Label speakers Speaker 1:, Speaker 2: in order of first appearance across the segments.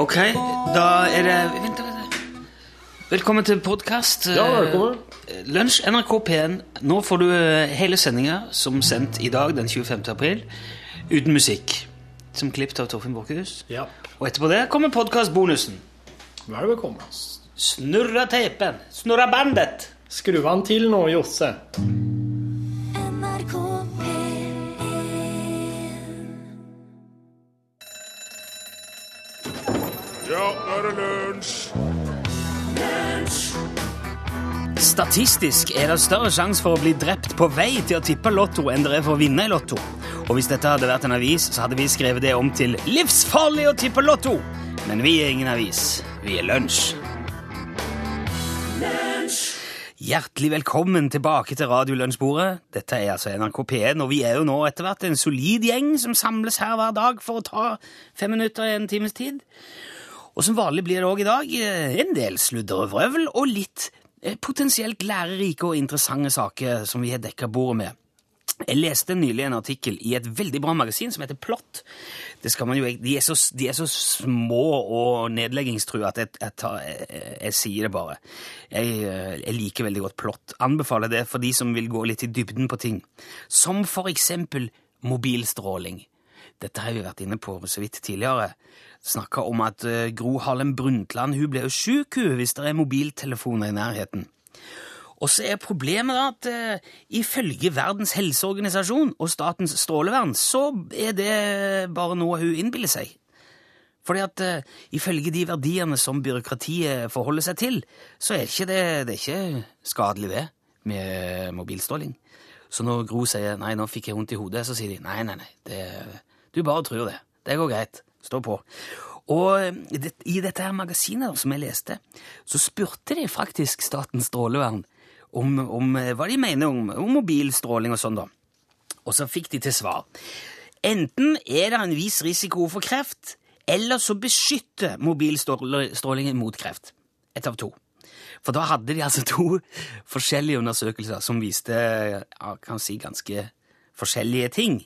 Speaker 1: Ok, da er det Vent litt. Velkommen til podkast.
Speaker 2: Ja, velkommen.
Speaker 1: Lunsj, NRK P1. Nå får du eh, hele sendinga som sendt i dag, den 25. april, uten musikk. Som klippet av Torfinn Borchhus.
Speaker 2: Ja.
Speaker 1: Og etterpå det kommer podkastbonusen.
Speaker 2: Vær velkommen.
Speaker 1: Snurra teipen. Snurra bandet.
Speaker 2: Skru han til nå, Josse.
Speaker 3: NRK P1
Speaker 4: Ja, nå er det lunsj!
Speaker 1: Statistisk er det større sjanse for å bli drept på vei til å tippe Lotto enn det er for å vinne i Lotto. Og hvis dette hadde vært en avis, så hadde vi skrevet det om til livsfarlig å tippe Lotto. Men vi er ingen avis. Vi er lunsj. Hjertelig velkommen tilbake til Radiolunsjbordet. Dette er altså NRK P1, og vi er jo nå etter hvert en solid gjeng som samles her hver dag for å ta fem minutter i en times tid. Og som vanlig blir det òg i dag eh, en del sludder og vrøvl, og litt eh, potensielt lærerike og interessante saker som vi har dekka bordet med. Jeg leste nylig en artikkel i et veldig bra magasin som heter Plott. Det skal man jo, de, er så, de er så små og nedleggingstrua at jeg, jeg, tar, jeg, jeg, jeg sier det bare. Jeg, eh, jeg liker veldig godt Plott. Anbefaler det for de som vil gå litt i dybden på ting. Som for eksempel mobilstråling. Dette har vi vært inne på så vidt tidligere. Snakka om at eh, Gro Harlem Brundtland hun ble jo sjuk hun, hvis det er mobiltelefoner i nærheten. Og så er problemet da at eh, ifølge Verdens helseorganisasjon og Statens strålevern, så er det bare noe hun innbiller seg. Fordi at eh, ifølge de verdiene som byråkratiet forholder seg til, så er ikke det, det er ikke skadelig det med mobilstråling. Så når Gro sier 'nei, nå fikk jeg vondt i hodet', så sier de 'nei, nei, nei, det, du bare tror det. Det går greit. Stå på'. Og eh, det, i dette her magasinet da, som jeg leste, så spurte de faktisk Statens strålevern om, om eh, hva de mener om, om mobilstråling og sånn, da. Og så fikk de til svar. Enten er det en viss risiko for kreft, eller så beskytter mobilstrålingen mot kreft. Ett av to. For da hadde de altså to forskjellige undersøkelser som viste ja, kan si ganske forskjellige ting.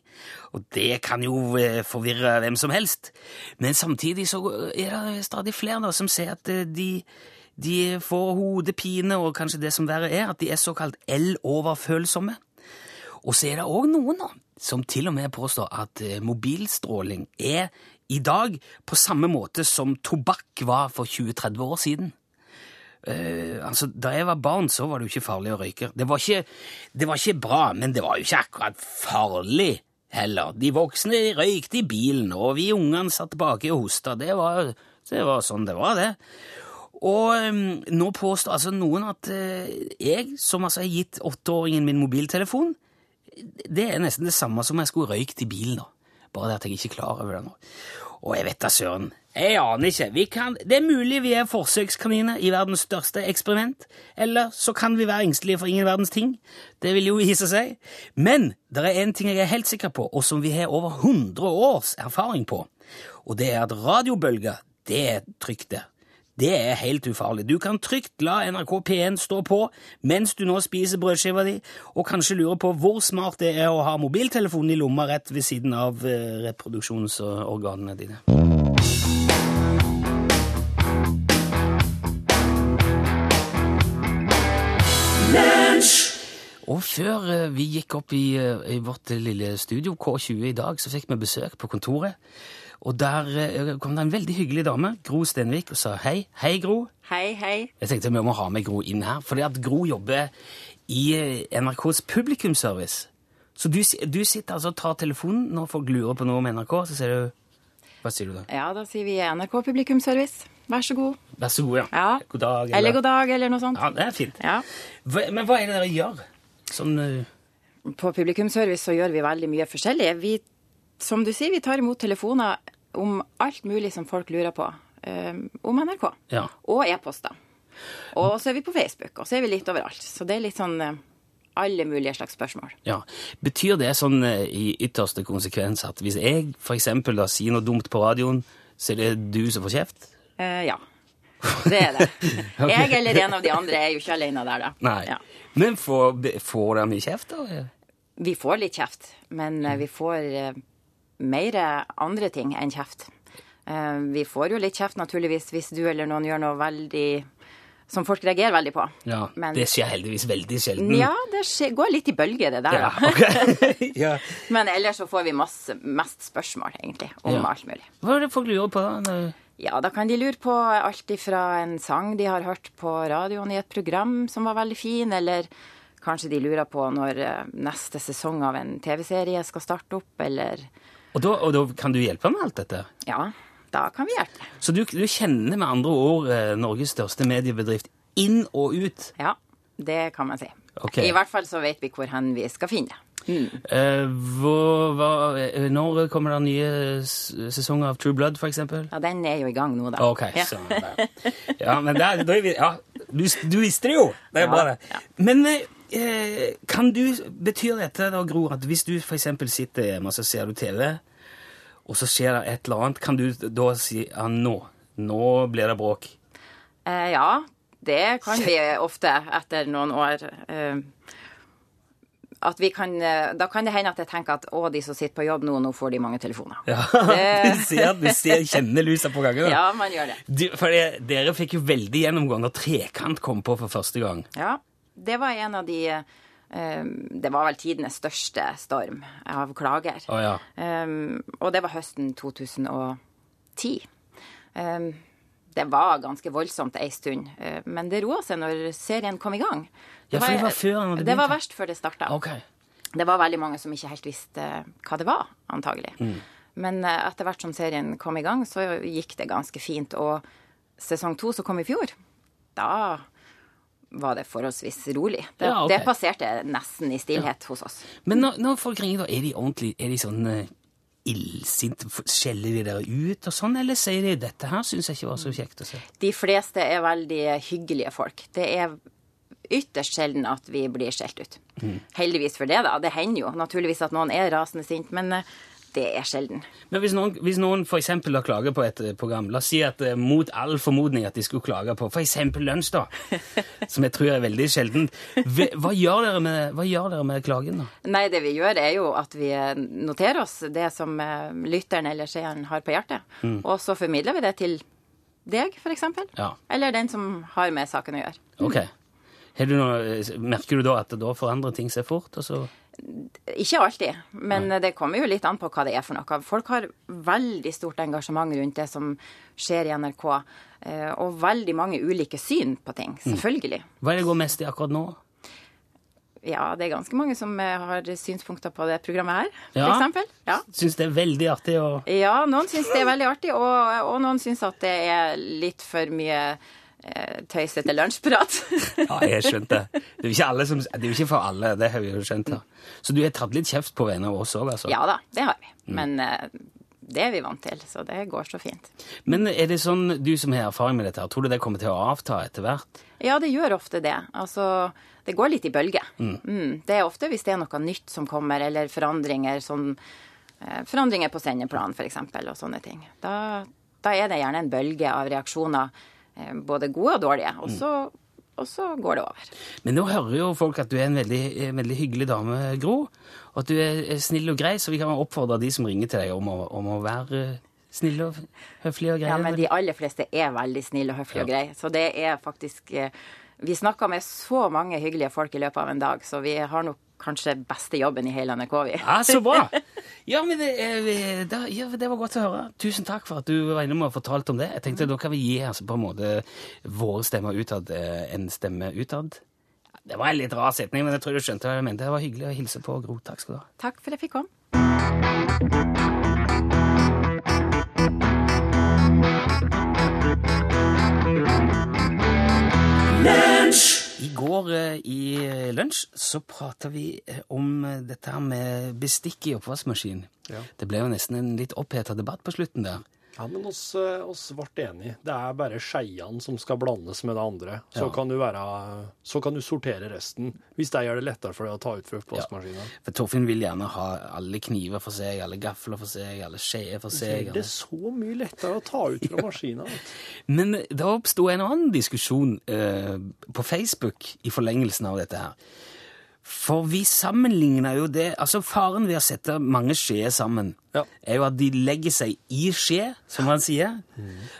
Speaker 1: Og det kan jo eh, forvirre hvem som helst. Men samtidig så er det stadig flere da, som sier at eh, de, de får hodepine, og kanskje det som verre er, at de er såkalt el-overfølsomme. Og så er det òg noen da, som til og med påstår at eh, mobilstråling er i dag på samme måte som tobakk var for 20-30 år siden. Eh, altså, Da jeg var barn, så var det jo ikke farlig å røyke. Det var ikke, det var ikke bra, men det var jo ikke akkurat farlig heller. De voksne røykte i bilen, og vi ungene satt baki og hosta. Det var, det var sånn det var, det. Og um, nå påstår altså noen at eh, jeg, som altså har gitt åtteåringen min mobiltelefon, det er nesten det samme som jeg skulle røykt i bilen nå. Bare det at jeg ikke er klar over det nå. Og jeg vet da søren. Jeg aner ikke. Vi kan, det er mulig vi er forsøkskaniner i verdens største eksperiment. Eller så kan vi være engstelige for ingen verdens ting. Det vil jo vise seg. Men det er én ting jeg er helt sikker på, og som vi har over 100 års erfaring på. Og det er at radiobølger, det er trygt, det. Det er helt ufarlig. Du kan trygt la NRK P1 stå på mens du nå spiser brødskiva di, og kanskje lurer på hvor smart det er å ha mobiltelefonen i lomma rett ved siden av eh, reproduksjonsorganene dine. Og før eh, vi gikk opp i, eh, i vårt lille studio, K20 i dag, så fikk vi besøk på kontoret. Og der eh, kom det en veldig hyggelig dame, Gro Stenvik, og sa hei. Hei, Gro.
Speaker 5: Hei, hei.
Speaker 1: Jeg tenkte vi må ha med Gro inn her, fordi at Gro jobber i eh, NRKs publikumsservice. Så du, si- du sitter altså og tar telefonen når folk lurer på noe om NRK, så sier du Hva sier du da?
Speaker 5: Ja, da sier vi NRK Publikumsservice. Vær så god.
Speaker 1: Vær så god, ja.
Speaker 5: Ja.
Speaker 1: God dag.
Speaker 5: Eller god dag, eller noe sånt.
Speaker 1: Ja, det er fint.
Speaker 5: Ja.
Speaker 1: Hva, men hva er det dere gjør? Sånn eh,
Speaker 5: På Publikumsservice så gjør vi veldig mye forskjellig. Vi, som du sier, vi tar imot telefoner om alt mulig som folk lurer på eh, om NRK.
Speaker 1: Ja.
Speaker 5: Og e-poster. Og så er vi på Facebook, og så er vi litt overalt. Så det er litt sånn eh, alle mulige slags spørsmål.
Speaker 1: Ja. Betyr det sånn eh, i ytterste konsekvens at hvis jeg for eksempel da sier noe dumt på radioen, så er det du som får kjeft?
Speaker 5: Eh, ja. Det er det. Jeg eller en av de andre er jo ikke alene der, da.
Speaker 1: Nei.
Speaker 5: Ja.
Speaker 1: Men får, be- får dere mye kjeft, da?
Speaker 5: Vi eh, får litt kjeft, men eh, vi får mer andre ting enn kjeft. Eh, Vi får jo litt kjeft, naturligvis, hvis du eller noen gjør noe veldig som folk reagerer veldig på.
Speaker 1: Ja,
Speaker 5: Men-
Speaker 1: Det skjer heldigvis veldig sjelden.
Speaker 5: Ja, det skje- går litt i bølger, det der.
Speaker 1: Ja,
Speaker 5: da.
Speaker 1: ok. ja.
Speaker 5: Men ellers så får vi masse, mest spørsmål, egentlig, om
Speaker 1: Ja.
Speaker 5: alt mulig.
Speaker 1: Hva er det folk lurer på, da?
Speaker 5: Ja, da kan de lure på alt ifra en sang de har hørt på radioen i et program som var veldig fin, eller kanskje de lurer på når eh, neste sesong av en TV-serie skal starte opp, eller
Speaker 1: Og da, og da kan du hjelpe med alt dette?
Speaker 5: Ja, da kan vi hjelpe.
Speaker 1: Så du, du kjenner med andre ord eh, Norges største mediebedrift inn og ut.
Speaker 5: Ja, det kan man si.
Speaker 1: Ok.
Speaker 5: I hvert fall så vet vi hvor hen vi skal finne det.
Speaker 1: Eh, hvor, hva, eh, når kommer det nye s- sesonger av True Blood, for eksempel?
Speaker 5: Ja, den er jo i gang nå, da.
Speaker 1: Ok,
Speaker 5: ja.
Speaker 1: så der. Ja, men der, da er vi, ja, du, du visste det jo! Det er
Speaker 5: Ja,
Speaker 1: bra, det.
Speaker 5: ja.
Speaker 1: Men eh, kan du, betyr dette da, Gro, at hvis du for eksempel sitter hjemme og så ser du TV, og så skjer det et eller annet, kan du da si ja, nå, nå blir det bråk?
Speaker 5: Eh, ja, det kan vi ofte etter noen år. Eh, at vi kan, eh, da kan det hende at jeg tenker at å, de som sitter på jobb nå, nå får de mange telefoner.
Speaker 1: Ja,
Speaker 5: Det-
Speaker 1: du ser, du ser kjenner lusa på gangen. da.
Speaker 5: Ja, man gjør det.
Speaker 1: Du, for det, dere fikk jo veldig gjennomgang når Trekant kom på for første gang.
Speaker 5: Ja, det var en av de eh, Det var vel tidenes største storm av klager.
Speaker 1: Å ja.
Speaker 5: Eh, og det var høsten 2010. Eh, det var ganske voldsomt ei stund, eh, men det roa seg når serien kom i gang.
Speaker 1: Ja, for det var før den hadde
Speaker 5: det var
Speaker 1: begynt, ja.
Speaker 5: verst før det starta.
Speaker 1: Ok.
Speaker 5: Det var veldig mange som ikke helt visste eh, hva det var, antagelig.
Speaker 1: Mm.
Speaker 5: Men eh, etter hvert som serien kom i gang, så gikk det ganske fint. Og sesong to som kom i fjor, da var det forholdsvis rolig. Det,
Speaker 1: Ja, ok.
Speaker 5: det passerte nesten i stillhet hos oss.
Speaker 1: Men når, når folk ringer, da, er de ordentlig Er de sånn uh, illsinte? F- Skjeller de dere ut og sånn, eller sier de 'dette her syns jeg ikke var så kjekt å se'?
Speaker 5: De fleste er veldig hyggelige folk. Det er ytterst sjelden at vi blir skjelt ut. Heldigvis for det, da. Det hender jo naturligvis at noen er rasende sint, men eh, det er sjelden.
Speaker 1: Men hvis noen, hvis noen for eksempel da klager på et eh, program, la oss si at eh, mot all formodning at de skulle klage på for eksempel lunsj, da, som jeg tror er veldig sjelden, hva, hva, gjør dere med- hva gjør dere med klagen, da?
Speaker 5: Nei, det vi gjør er jo at vi eh, noterer oss det som eh, lytteren eller seeren har på hjertet. Og så formidler vi det til deg, f.eks.
Speaker 1: Ja.
Speaker 5: Eller den som har med saken å gjøre.
Speaker 1: Ok. Har du noe, eh, merker du da at da forandrer ting seg fort? og så...
Speaker 5: Ikke alltid, men det kommer jo litt an på hva det er for noe. Folk har veldig stort engasjement rundt det som skjer i NRK. eh, Og veldig mange ulike syn på ting,
Speaker 1: Mm.
Speaker 5: selvfølgelig.
Speaker 1: Hva er det går mest i akkurat nå?
Speaker 5: Ja, det er ganske mange som eh, har synspunkter på det programmet her,
Speaker 1: Ja.
Speaker 5: f.eks. Ja.
Speaker 1: Syns det er veldig artig å
Speaker 5: Ja, noen syns det er veldig artig, og, og noen syns at det er litt for mye eh, tøysete lunsjprat.
Speaker 1: Ja, jeg skjønte det. Det er jo ikke, alle som, det er jo ikke for alle, det har vi jo skjønt. her. Så du har tatt litt kjeft på vegne av oss òg, altså.
Speaker 5: ja da, det har vi. Men eh, det er vi vant til, så det går så fint.
Speaker 1: Men er det sånn, du som har erfaring med dette, her, tror du det kommer til å avta etter hvert?
Speaker 5: Ja, det gjør ofte det. Altså, det går litt i bølger. Mm, Det er ofte hvis det er noe nytt som kommer, eller forandringer som eh, Forandringer på sendeplan, f.eks., og sånne ting. Da, da er det gjerne en bølge av reaksjoner, eh, både gode og dårlige. Og så, og så går det over.
Speaker 1: Men nå hører jo folk at du er en veldig, en veldig hyggelig dame, Gro. Og at du er snill og grei, så vi kan oppfordre de som ringer til deg om å, om å være snille og høflige og greie.
Speaker 5: Ja, men de aller fleste er veldig snille og høflige og greie. Så det er faktisk eh, Vi snakka med så mange hyggelige folk i løpet av en dag, så vi har nok kanskje beste jobben i hele NRK, vi.
Speaker 1: Ja, Ah, så bra! Ja, men det, eh, da, ja, det var godt å høre. Tusen takk for at du var innom og fortalte om det. Jeg tenkte Da kan vi gi altså, på en måte våre stemmer utad eh, en stemme utad. Det var en litt rar setning, men jeg tror du skjønte hva jeg mente. Det var hyggelig å hilse på Gro. Takk skal du ha.
Speaker 5: Takk for at jeg fikk komme.
Speaker 1: I går eh, i lunsj så prata vi eh, om eh, dette her med bestikk i oppvaskmaskin. Det ble jo nesten en litt oppheta debatt på slutten der.
Speaker 2: Ja, men oss, eh, oss ble enige. Det er bare skeiene som skal blandes med det andre. Så, kan, du være, så kan du sortere resten, hvis det gjør det lettere for deg å ta ut fra oppvaskmaskinen.
Speaker 1: For Torfinn vil gjerne ha alle kniver for seg, alle gafler for seg, alle skjeer for seg.
Speaker 2: Gjør det
Speaker 1: alle-
Speaker 2: så mye lettere å ta ut fra maskinen. vet du.
Speaker 1: Men det oppsto en annen diskusjon eh, på Facebook i forlengelsen av dette her. For vi sammenligner jo det Altså, faren ved å sette mange skjeer sammen
Speaker 2: Ja.
Speaker 1: er jo at de legger seg i skje, som han sier,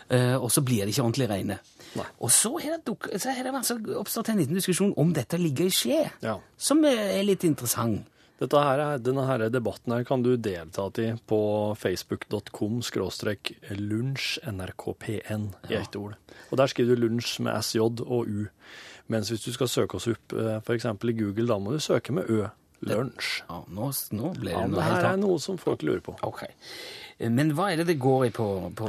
Speaker 1: eh, og så blir de ikke ordentlig reine.
Speaker 2: Nei.
Speaker 1: Og så har det, duk- så har det altså oppstått en liten diskusjon om dette ligger i skje,
Speaker 2: Ja.
Speaker 1: som er er litt interessant.
Speaker 2: Dette her, er- denne her debatten her kan du delta i på facebook.com skråstrek lunsjnrkpn i ett ord. Og der skriver du lunsj med sj og u. Mens hvis du skal søke oss opp f.eks. i Google, da må du søke med ø. Lunsj.
Speaker 1: Ja, nå, nå ble det
Speaker 2: Ja, men
Speaker 1: noe
Speaker 2: det her
Speaker 1: helt
Speaker 2: er
Speaker 1: annet.
Speaker 2: noe som folk lurer på.
Speaker 1: Ok. Eh, Men hva er det det går i på, på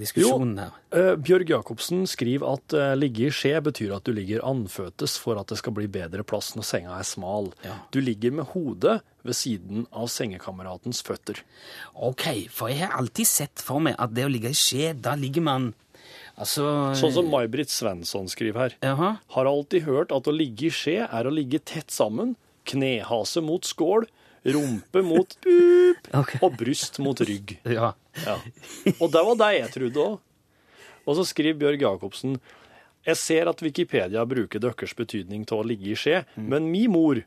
Speaker 1: diskusjonen her?
Speaker 2: Eh, Bjørg Jacobsen skriver at eh, ligge i skje betyr at du ligger anføtes for at det skal bli bedre plass når senga er smal.
Speaker 1: Ja.
Speaker 2: Du ligger med hodet ved siden av sengekameratens føtter.
Speaker 1: Ok, for jeg har alltid sett for meg at det å ligge i skje, da ligger man Altså
Speaker 2: Sånn som May-Britt Svensson skriver her.
Speaker 1: Jaha.
Speaker 2: Har alltid hørt at å ligge i skje er å ligge tett sammen, knehase mot skål, rumpe mot pup
Speaker 1: Ok.
Speaker 2: og bryst mot rygg.
Speaker 1: Ja.
Speaker 2: Ja. Og det var det jeg trodde òg. Og så skriver Bjørg Jacobsen Jeg ser at Wikipedia bruker deres betydning til å ligge i skje,
Speaker 1: Mm.
Speaker 2: men mi mor,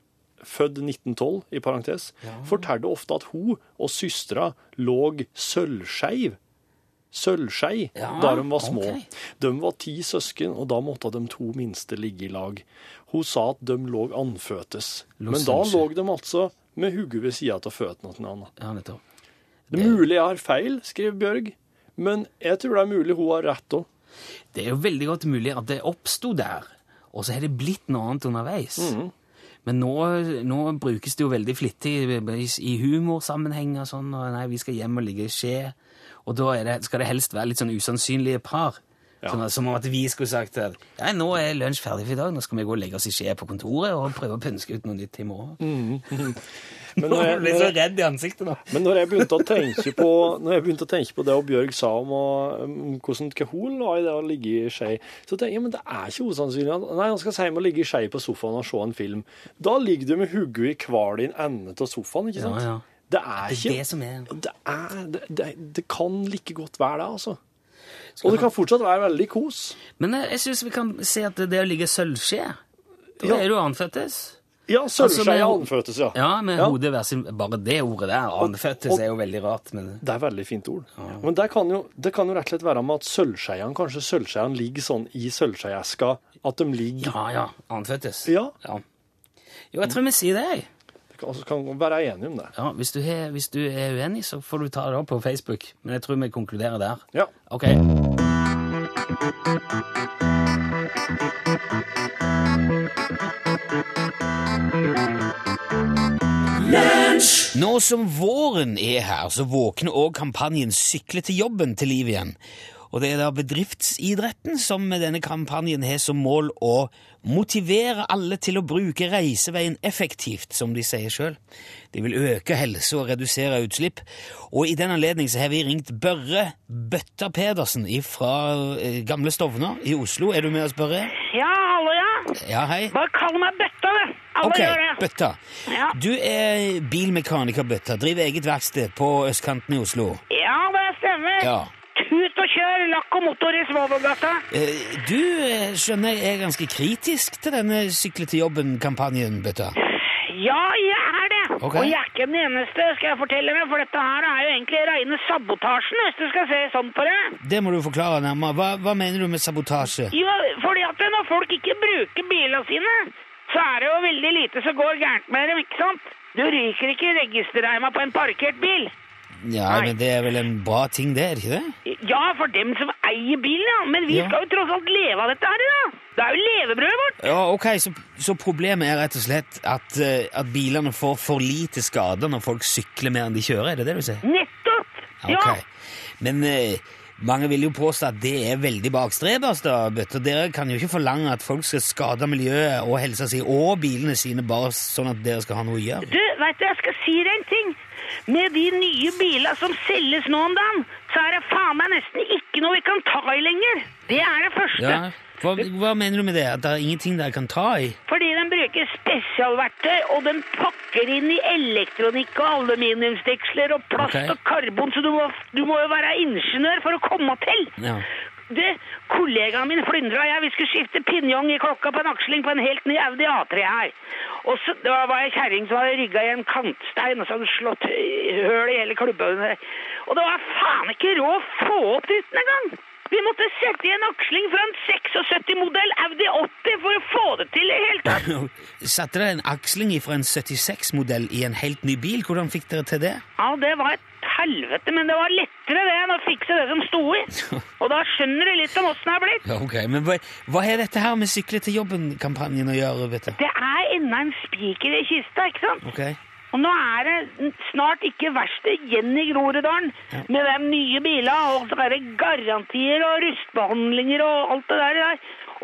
Speaker 2: født 1912, i parentes, fortalte ofte at hun og søstera lå sølvskeiv. Sølvskei
Speaker 1: Ja,
Speaker 2: da de var små.
Speaker 1: ok.
Speaker 2: De var ti søsken, og da måtte de to minste ligge i lag. Hun sa at de lå anføtes.
Speaker 1: Lå
Speaker 2: Men da lå
Speaker 1: sølvskei.
Speaker 2: de altså med hodet ved sida av føttene til hverandre.
Speaker 1: ja, nettopp.
Speaker 2: Det er mulig jeg har feil, skriver Bjørg, men jeg tror det er mulig hun har rett òg.
Speaker 1: Det er jo veldig godt mulig at det oppsto der, og så har det blitt noe annet underveis. Men nå, nå brukes det jo veldig flittig i, i humorsammenheng og sånn, og nei, vi skal hjem og ligge i skje, og da er det, skal det helst være litt sånn usannsynlige par. Sånn at, som om at vi skulle sagt at nei, nå er lunsj ferdig for i dag, nå skal vi gå og legge oss i skje på kontoret og prøve å pønske ut noe nytt i morgen.
Speaker 2: Men,
Speaker 1: Mm. Nå
Speaker 2: når jeg-
Speaker 1: ble jeg så
Speaker 2: når jeg-
Speaker 1: redd i ansiktet nå.
Speaker 2: men når jeg begynte å tenke på, når jeg begynte å tenke på det og Bjørg sa om, å- om hvordan hva hun la i det å ligge i skje, så tenkte jeg ja, men det er ikke usannsynlig. Han- Nei, han skal si med å ligge i skje på sofaen og se en film. Da ligger du med hodet i hver din ende av sofaen, ikke sant?
Speaker 1: Ja, ja.
Speaker 2: Det er
Speaker 1: Det er det
Speaker 2: ikke
Speaker 1: som er
Speaker 2: det, er, det, det, det kan like godt være det, altså. Og det kan fortsatt være veldig kos.
Speaker 1: Men jeg, jeg syns vi kan si at det å ligge i sølvskje, da
Speaker 2: Ja.
Speaker 1: er du anføttes.
Speaker 2: Ja,
Speaker 1: Altså,
Speaker 2: sølvskei
Speaker 1: med-
Speaker 2: anføtes, ja.
Speaker 1: Ja, med hodet hver sin Bare det ordet der, anføttes,
Speaker 2: og-
Speaker 1: er jo veldig rart. Men
Speaker 2: Det er et veldig fint ord. Men det kan, jo, det kan jo rett og slett være med at sølvskeiene, kanskje sølvskeiene ligger sånn i sølvskeieska, at de ligger
Speaker 1: ja, ja. Anføttes.
Speaker 2: Ja.
Speaker 1: Jo, jeg tror vi sier det, jeg.
Speaker 2: altså, Kan være enige om det.
Speaker 1: Ja, hvis, du er, hvis du er uenig, så får du ta det opp på Facebook. Men jeg tror vi konkluderer der.
Speaker 2: Ja.
Speaker 1: Ok. Nå som våren er her, så våkner òg kampanjen Sykle til jobben til liv igjen. Og det er da bedriftsidretten som med denne kampanjen har som mål å motivere alle til å bruke reiseveien effektivt, som de sier sjøl. De vil øke helse og redusere utslipp. Og i den anledning så har vi ringt Børre Bøtta Pedersen fra eh, Gamle Stovner i Oslo. Er du med oss, Børre?
Speaker 6: Ja, hallo, ja.
Speaker 1: Ja, hei.
Speaker 6: Bare kall meg Bøtta, det. Alle
Speaker 1: Ok,
Speaker 6: gjør det.
Speaker 1: Bøtta.
Speaker 6: Ja.
Speaker 1: Du er bilmekaniker, Bøtta. Driver eget verksted på østkanten i Oslo.
Speaker 6: Ja, det stemmer.
Speaker 1: Ja.
Speaker 6: Tut og kjør lakk og motor i Svovelgata.
Speaker 1: Eh, Du eh, skjønner jeg er ganske kritisk til denne Sykle til jobben-kampanjen, Bøtta.
Speaker 6: Ja, jeg er det.
Speaker 1: Ok.
Speaker 6: Og jeg er ikke den eneste, skal jeg fortelle deg, for dette her er jo egentlig reine sabotasjen, hvis du skal se sånn på det.
Speaker 1: Det må du forklare nærmere. Hva, hva mener du med sabotasje?
Speaker 6: Jo, fordi at når folk ikke bruker bilene sine, så er det jo veldig lite som går gærent med dem, ikke sant? Du ryker ikke registerreima på en parkert bil.
Speaker 1: Ja,
Speaker 6: Nei.
Speaker 1: men Det er vel en bra ting, det? er det ikke det?
Speaker 6: Ja, for dem som eier bilen, ja. Men vi
Speaker 1: Ja.
Speaker 6: skal jo tross alt leve av dette her, da. Det er jo levebrødet vårt.
Speaker 1: Ja, ok, Så, så problemet er rett og slett at, eh, at bilene får for lite skader når folk sykler mer enn de kjører? er det det du sier?
Speaker 6: Nettopp! Ja.
Speaker 1: Ok. Men eh, mange vil jo påstå at det er veldig bakstrebers, da, Bøtte. Dere kan jo ikke forlange at folk skal skade miljøet og helsa si og bilene sine bare sånn at dere skal ha noe å gjøre.
Speaker 6: Du, vet du, jeg skal si deg en ting. Med de nye bilene som selges nå om dagen, så er det faen meg nesten ikke noe vi kan ta i lenger. Det er det første.
Speaker 1: Ja. Hva, hva mener du med det? At det er ingenting dere kan ta i?
Speaker 6: Fordi de bruker spesialverktøy, og de pakker inn i elektronikk og aluminiumsdeksler og plast
Speaker 1: Ok.
Speaker 6: og karbon, så du må, du må jo være ingeniør for å komme til.
Speaker 1: Ja.
Speaker 6: Du, kollegaen min Flyndra og jeg, vi skulle skifte pinjong i klokka på en aksling på en helt ny Audi A3 her. Og så det var- var ei kjerring som hadde rygga i en kantstein, og så hadde hun slått hø- høl i hele klubba under. Og det var faen ikke råd å få opp ruten engang! Vi måtte sette i en aksling fra en 76-modell Audi 80 for å få det til i det hele tatt!
Speaker 1: Satte dere en aksling fra en 76-modell i en helt ny bil? Hvordan fikk dere til det?
Speaker 6: Ja, det var et helvete, men det var lettere det enn å fikse det som sto i. Og da skjønner du litt om åssen det er blitt.
Speaker 1: Ok, men hva, hva har dette her med Sykle til jobben-kampanjen å gjøre, vet du?
Speaker 6: Det er enda en spiker i kista, ikke sant?
Speaker 1: Ok.
Speaker 6: Og nå er det snart ikke verste igjen i Groruddalen. Med de nye biler og så er det garantier og rustbehandlinger og alt det der. der.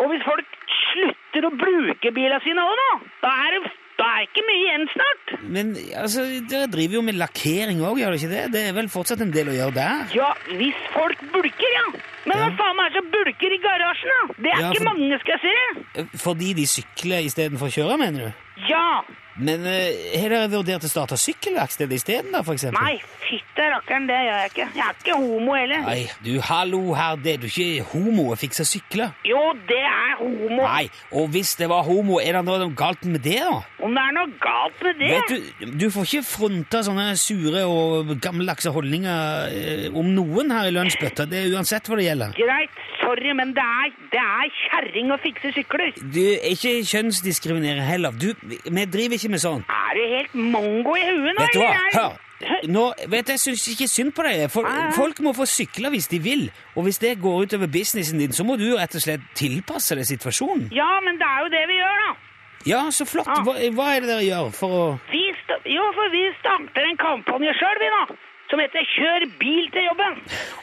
Speaker 6: Og hvis folk slutter å bruke bilene sine òg nå, da er det da er det ikke mye igjen snart.
Speaker 1: Men altså, dere driver jo med lakkering òg, gjør dere ikke det? Det er vel fortsatt en del å gjøre der?
Speaker 6: Ja, hvis folk bulker, ja. Men hva
Speaker 1: Ja.
Speaker 6: faen er det som bulker i garasjen, da? Det er
Speaker 1: Ja, for-
Speaker 6: ikke mange, skal jeg si.
Speaker 1: Fordi de sykler istedenfor å kjøre, mener du?
Speaker 6: Ja.
Speaker 1: Men eh, har dere vurdert å starte sykkelverksted isteden, da, for eksempel?
Speaker 6: Nei, fytte rakkeren, det gjør jeg ikke. Jeg er ikke homo heller.
Speaker 1: Nei, du, hallo her, det er du ikke homo og fikser sykler?
Speaker 6: Jo, det er homo.
Speaker 1: Nei, og hvis det var homo, er det noe galt med det, da?
Speaker 6: Om det er noe galt med det?
Speaker 1: Vet du, du får ikke fronta sånne sure og gammeldagse holdninger eh, om noen her i lunsjbøtta. Det er uansett hva det gjelder.
Speaker 6: Greit, sorry, men det er, det er kjerring å fikse sykler.
Speaker 1: Du er ikke kjønnsdiskriminerer heller. Du, vi driver ikke med sånn.
Speaker 6: Er du helt mongo i huet nå?
Speaker 1: Vet du hva?
Speaker 6: eller er-
Speaker 1: Hør! Nå, vet du, Jeg syns ikke synd på deg. Fol-
Speaker 6: Nei.
Speaker 1: Folk må få sykle hvis de vil. Og hvis det går utover businessen din, så må du rett og slett tilpasse deg situasjonen.
Speaker 6: Ja, men det er jo det vi gjør, da.
Speaker 1: Ja, så flott.
Speaker 6: Ja.
Speaker 1: Hva, hva er det dere gjør for å
Speaker 6: Vi sta jo, for vi starter en kampanje sjøl, vi, nå. Som heter Kjør bil til jobben.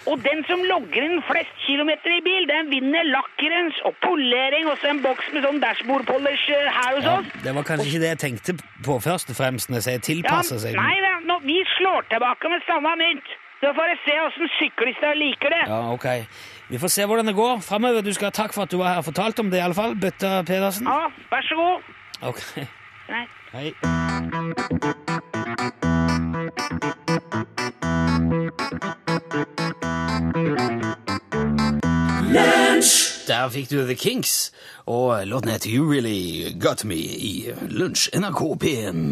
Speaker 6: Og den som logger inn flest kilometer i bil, den vinner lakkrens og polering og så en boks med sånn dashbordpolish eh, her hos
Speaker 1: ja,
Speaker 6: oss.
Speaker 1: Det var kanskje ikke det jeg tenkte på først og fremst når jeg sier
Speaker 6: Ja,
Speaker 1: tilpasse seg.
Speaker 6: nei da, nå, vi slår tilbake med samme mynt. Så får jeg se åssen syklister liker det.
Speaker 1: Ja, ok. Vi får se hvordan det går fremover. Du skal ha takk for at du var her og fortalte om det, i alle fall. Bøtta Pedersen.
Speaker 6: Ja, vær så god.
Speaker 1: Ok.
Speaker 6: Nei.
Speaker 1: Hei. Der fikk du The Kinks, og låten heter You Really Got Me i Lunsj NRK P1.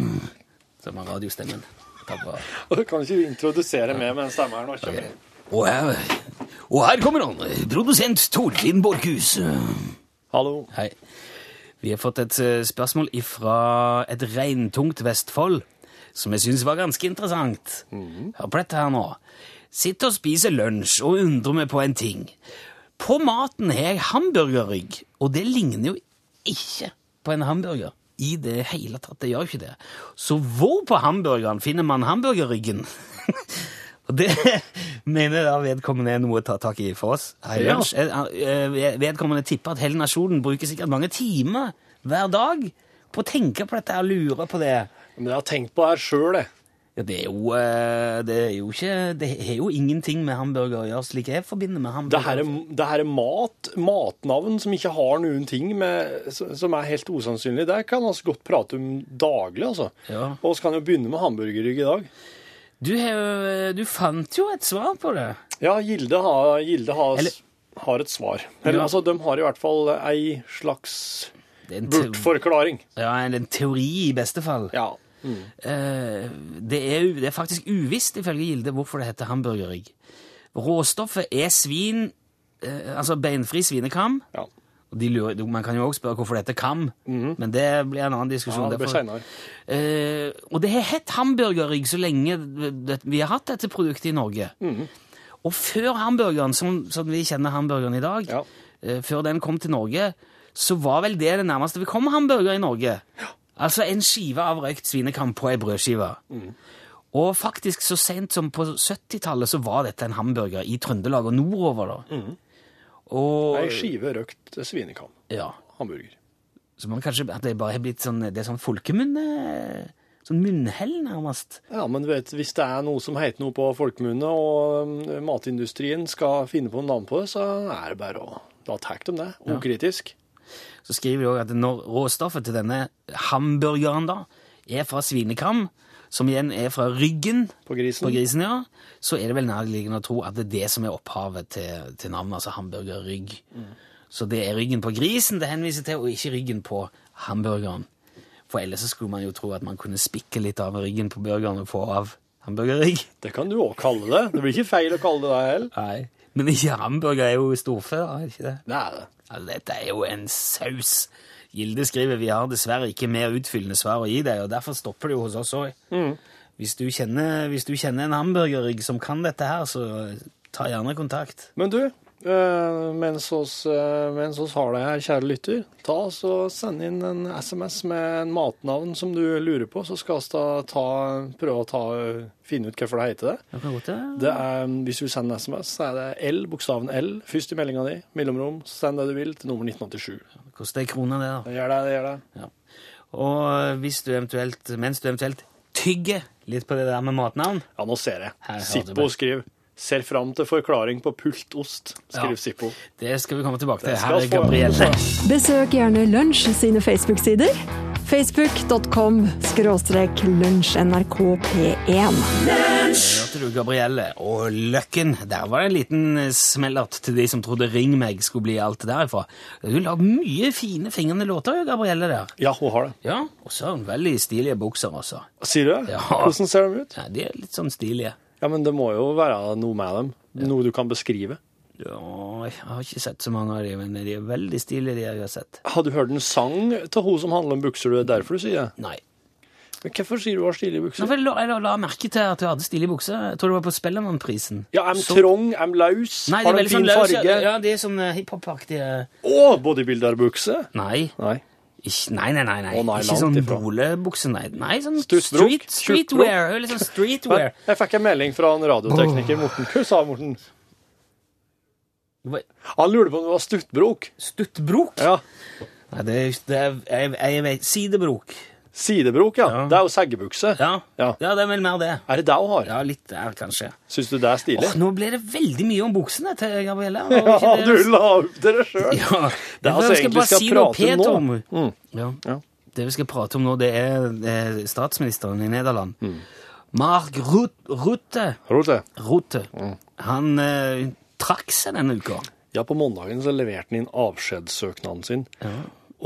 Speaker 1: Som var radiostemmen. Det var...
Speaker 2: Du kan ikke introdusere meg med den stemmen her nå. ikke?
Speaker 1: Og, her, og her kommer han, produsent Torfinn Borchhus.
Speaker 2: Hallo.
Speaker 1: Hei. Vi har fått et eh, spørsmål fra et regntungt Vestfold, som jeg syns var ganske interessant. Hør på dette her nå. Sitter og spiser lunsj og undrer meg på en ting. På maten har jeg hamburgerrygg, og det ligner jo ikke på en hamburger. I det hele tatt. Det gjør jo ikke det. Så hvor på hamburgeren finner man hamburgerryggen? og det mener da vedkommende er noe å ta tak i for oss. Hei,
Speaker 2: Ja.
Speaker 1: lunsj. Eh, eh, Vedkommende tipper at hele nasjonen bruker sikkert mange timer hver dag på å tenke på dette og lure på det.
Speaker 2: Men jeg har tenkt på det her sjøl, jeg.
Speaker 1: Ja, det er jo, eh, det er jo ikke Det har jo ingenting med hamburger å gjøre, slik jeg forbinder med
Speaker 2: Det
Speaker 1: hamburger.
Speaker 2: her, er, det her er mat, matnavn som ikke har noen ting med, som er helt usannsynlig. Det kan vi godt prate om daglig, altså.
Speaker 1: Ja.
Speaker 2: Og vi kan jo begynne med hamburgerrygg i dag.
Speaker 1: Du, har jo- eh, du fant jo et svar på det.
Speaker 2: Ja, Gilde har, Gilde har,
Speaker 1: Eller-
Speaker 2: har et svar. Eller,
Speaker 1: Ja.
Speaker 2: altså, de har i hvert fall ei slags
Speaker 1: det er en teori-
Speaker 2: bortforklaring.
Speaker 1: Ja, en, en teori i beste fall.
Speaker 2: Ja.
Speaker 1: Eh, det, er, u- det er faktisk uvisst ifølge Gilde hvorfor det heter hamburgerrygg. Råstoffet er svin, eh, altså beinfri svinekam.
Speaker 2: ja.
Speaker 1: Og De lurer, man kan jo også spørre hvorfor det heter kam, men det blir en annen diskusjon.
Speaker 2: Mhm. Ja, det blir
Speaker 1: Derfor-
Speaker 2: senere.
Speaker 1: Eh, og det har hett hamburgerrygg så lenge det, vi har hatt dette produktet i Norge.
Speaker 2: Mhm.
Speaker 1: Og før hamburgeren, som, som vi kjenner hamburgeren i dag,
Speaker 2: Ja.
Speaker 1: eh, før den kom til Norge, så var vel det det nærmeste vi kom hamburger i Norge. Altså en skive av røykt svinekam på ei brødskive.
Speaker 2: Mhm.
Speaker 1: Og faktisk så sent som på 70-tallet så var dette en hamburger i Trøndelag og nordover. da.
Speaker 2: Mhm.
Speaker 1: Og,
Speaker 2: Ei skive røkt svinekam.
Speaker 1: ja.
Speaker 2: Hamburger.
Speaker 1: Så man kanskje, at det bare har blitt sånn, det er sånn folkemunne, sånn munnhell nærmest.
Speaker 2: Ja, men du vet, hvis det er noe som heter noe på folkemunne, og ø, matindustrien skal finne på en navn på det, så er det bare å Da tar de det. Ukritisk.
Speaker 1: Så skriver de også at når råstoffet til denne hamburgeren da, er fra svinekam, som igjen er fra ryggen
Speaker 2: På grisen.
Speaker 1: på grisen ja, så er det vel nærliggende å tro at det er det som er opphavet til, til navnet, altså hamburgerrygg.
Speaker 2: Mm.
Speaker 1: Så det er ryggen på grisen det henviser til, og ikke ryggen på hamburgeren. For ellers så skulle man jo tro at man kunne spikke litt av ryggen på burgeren og få av hamburgerrygg.
Speaker 2: Det kan du òg kalle det. Det blir ikke feil å kalle det det heller.
Speaker 1: Nei. Men ikke hamburger er jo storfe, da, er det ikke det?
Speaker 2: Nei.
Speaker 1: Altså, dette er jo en saus. Gilde skriver vi har dessverre ikke mer utfyllende svar å gi deg, og derfor stopper det jo hos oss òg.
Speaker 2: Mm.
Speaker 1: Hvis, du kjenner- hvis du kjenner en hamburgerrygg som kan dette her, så ta gjerne kontakt.
Speaker 2: Men du, eh, mens oss, eh, mens oss har deg her, kjære lytter, ta oss og send inn en SMS med en matnavn som du lurer på, så skal vi da ta, prøve å ta, finne ut hvorfor det heter det.
Speaker 1: Det kan godt være.
Speaker 2: Det er, hvis du sender en SMS, så er det L, bokstaven L, først i meldinga di, mellomrom, send det du vil, til nummer 1987.
Speaker 1: Koster ei krone, det, da.
Speaker 2: Det gjør det, det gjør det.
Speaker 1: Ja. Og hvis du eventuelt, mens du eventuelt tygger litt på det der med matnavn
Speaker 2: Ja, nå ser jeg.
Speaker 1: Her har du
Speaker 2: Sippo
Speaker 1: meg.
Speaker 2: skriver. Ser fram til forklaring på pultost, skriver
Speaker 1: Ja.
Speaker 2: Sippo.
Speaker 1: Det skal vi komme tilbake til.
Speaker 2: Det
Speaker 1: Her
Speaker 2: skal
Speaker 1: er
Speaker 2: vi få.
Speaker 1: Gabrielle.
Speaker 7: Besøk gjerne Lunsj sine Facebook-sider. Facebook.com skråstrek lunsjnrkp1.
Speaker 1: Hørte du Gabrielle og Løkken? Der var det en liten smellert til de som trodde Ring meg skulle bli alt det derifra. Hun la mye fine fingrende låter, jo, Gabrielle, der.
Speaker 2: Ja, hun har det.
Speaker 1: Ja, og så har hun veldig stilige bukser også.
Speaker 2: Sier du det?
Speaker 1: Ja.
Speaker 2: Hvordan ser de ut?
Speaker 1: Ja, de er litt sånn stilige.
Speaker 2: Ja, men det må jo være noe med dem. Noe du kan beskrive.
Speaker 1: Ja, jeg har ikke sett så mange av de, men de er veldig stilige, de jeg har sett.
Speaker 2: Har du hørt en sang til hun som handler om bukser? Det er derfor du sier det.
Speaker 1: Nei.
Speaker 2: Men hvorfor sier du hun har stilige
Speaker 1: Nå
Speaker 2: bukser?
Speaker 1: får jeg la, jeg la merke til at du hadde stilige bukser. Jeg tror det var på Spellemannprisen.
Speaker 2: Ja, I'm
Speaker 1: Så-
Speaker 2: trong, I'm laus,
Speaker 1: Nei, de er
Speaker 2: har en
Speaker 1: veldig
Speaker 2: fin
Speaker 1: sånn løse.
Speaker 2: farge.
Speaker 1: Ja, de er sånn eh, hiphop-aktige.
Speaker 2: Å, bodybuilderbukse!
Speaker 1: Nei.
Speaker 2: Nei.
Speaker 1: Ikke, nei, nei, nei. nei.
Speaker 2: Å, nei,
Speaker 1: ikke
Speaker 2: langt
Speaker 1: sånn
Speaker 2: ifra.
Speaker 1: bolebukse, nei. nei sånn
Speaker 2: Stussbrok,
Speaker 1: street, streetwear. Litt sånn streetwear.
Speaker 2: Jeg fikk en melding fra en radiotekniker, Morten. Hva sa Morten?
Speaker 1: Det var
Speaker 2: Han lurte på om det var stuttbrok.
Speaker 1: Stuttbrok?
Speaker 2: Ja.
Speaker 1: Nei, det er, det er jeg, jeg vet Sidebrok.
Speaker 2: Sidebrok, ja.
Speaker 1: Ja.
Speaker 2: Det er jo seggebukse.
Speaker 1: Ja.
Speaker 2: Ja.
Speaker 1: ja, det er vel mer det.
Speaker 2: Er det det hun har?
Speaker 1: Ja, litt der, kanskje.
Speaker 2: Syns du det er stilig?
Speaker 1: Åh, nå ble det veldig mye om buksene til Gabriella.
Speaker 2: Ja, du la opp til det sjøl!
Speaker 1: altså. Ja,
Speaker 2: Det er altså egentlig
Speaker 1: bare
Speaker 2: skal
Speaker 1: si noe
Speaker 2: prate
Speaker 1: pent
Speaker 2: nå.
Speaker 1: om.
Speaker 2: Mm.
Speaker 1: Ja.
Speaker 2: Ja.
Speaker 1: Det vi skal prate om nå, det er eh, statsministeren i Nederland.
Speaker 2: Mm.
Speaker 1: Mark Rut- Rutte, Rutte.
Speaker 2: Mm.
Speaker 1: han eh, trakk seg denne uka.
Speaker 2: Ja, på mandagen så leverte han inn avskjedssøknaden sin.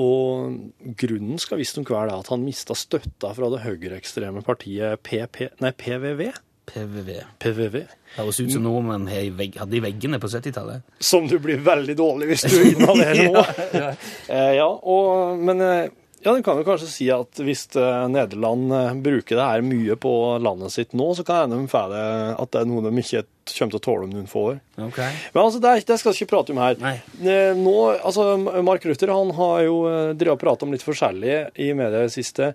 Speaker 2: Og grunnen skal visstnok være det at han mista støtta fra det høyreekstreme partiet PP, nei, PVV.
Speaker 1: PVV.
Speaker 2: PVV.
Speaker 1: Høres ut som nordmenn har i vegg- hadde i veggene på 70-tallet.
Speaker 2: Som du blir veldig dårlig hvis du inhalerer nå. Eh, ja, og, men eh, ja, den kan jo kanskje si at hvis eh, Nederland eh, bruker det her mye på landet sitt nå, så kan det hende de får det at det er noe de ikke kommer til å tåle om noen få år.
Speaker 1: Okay.
Speaker 2: Men altså, det, er, det skal vi ikke prate om her.
Speaker 1: Nei.
Speaker 2: Eh, Nå, altså, Mark Ruther han har jo eh, drevet og pratet om litt forskjellig i media i det siste.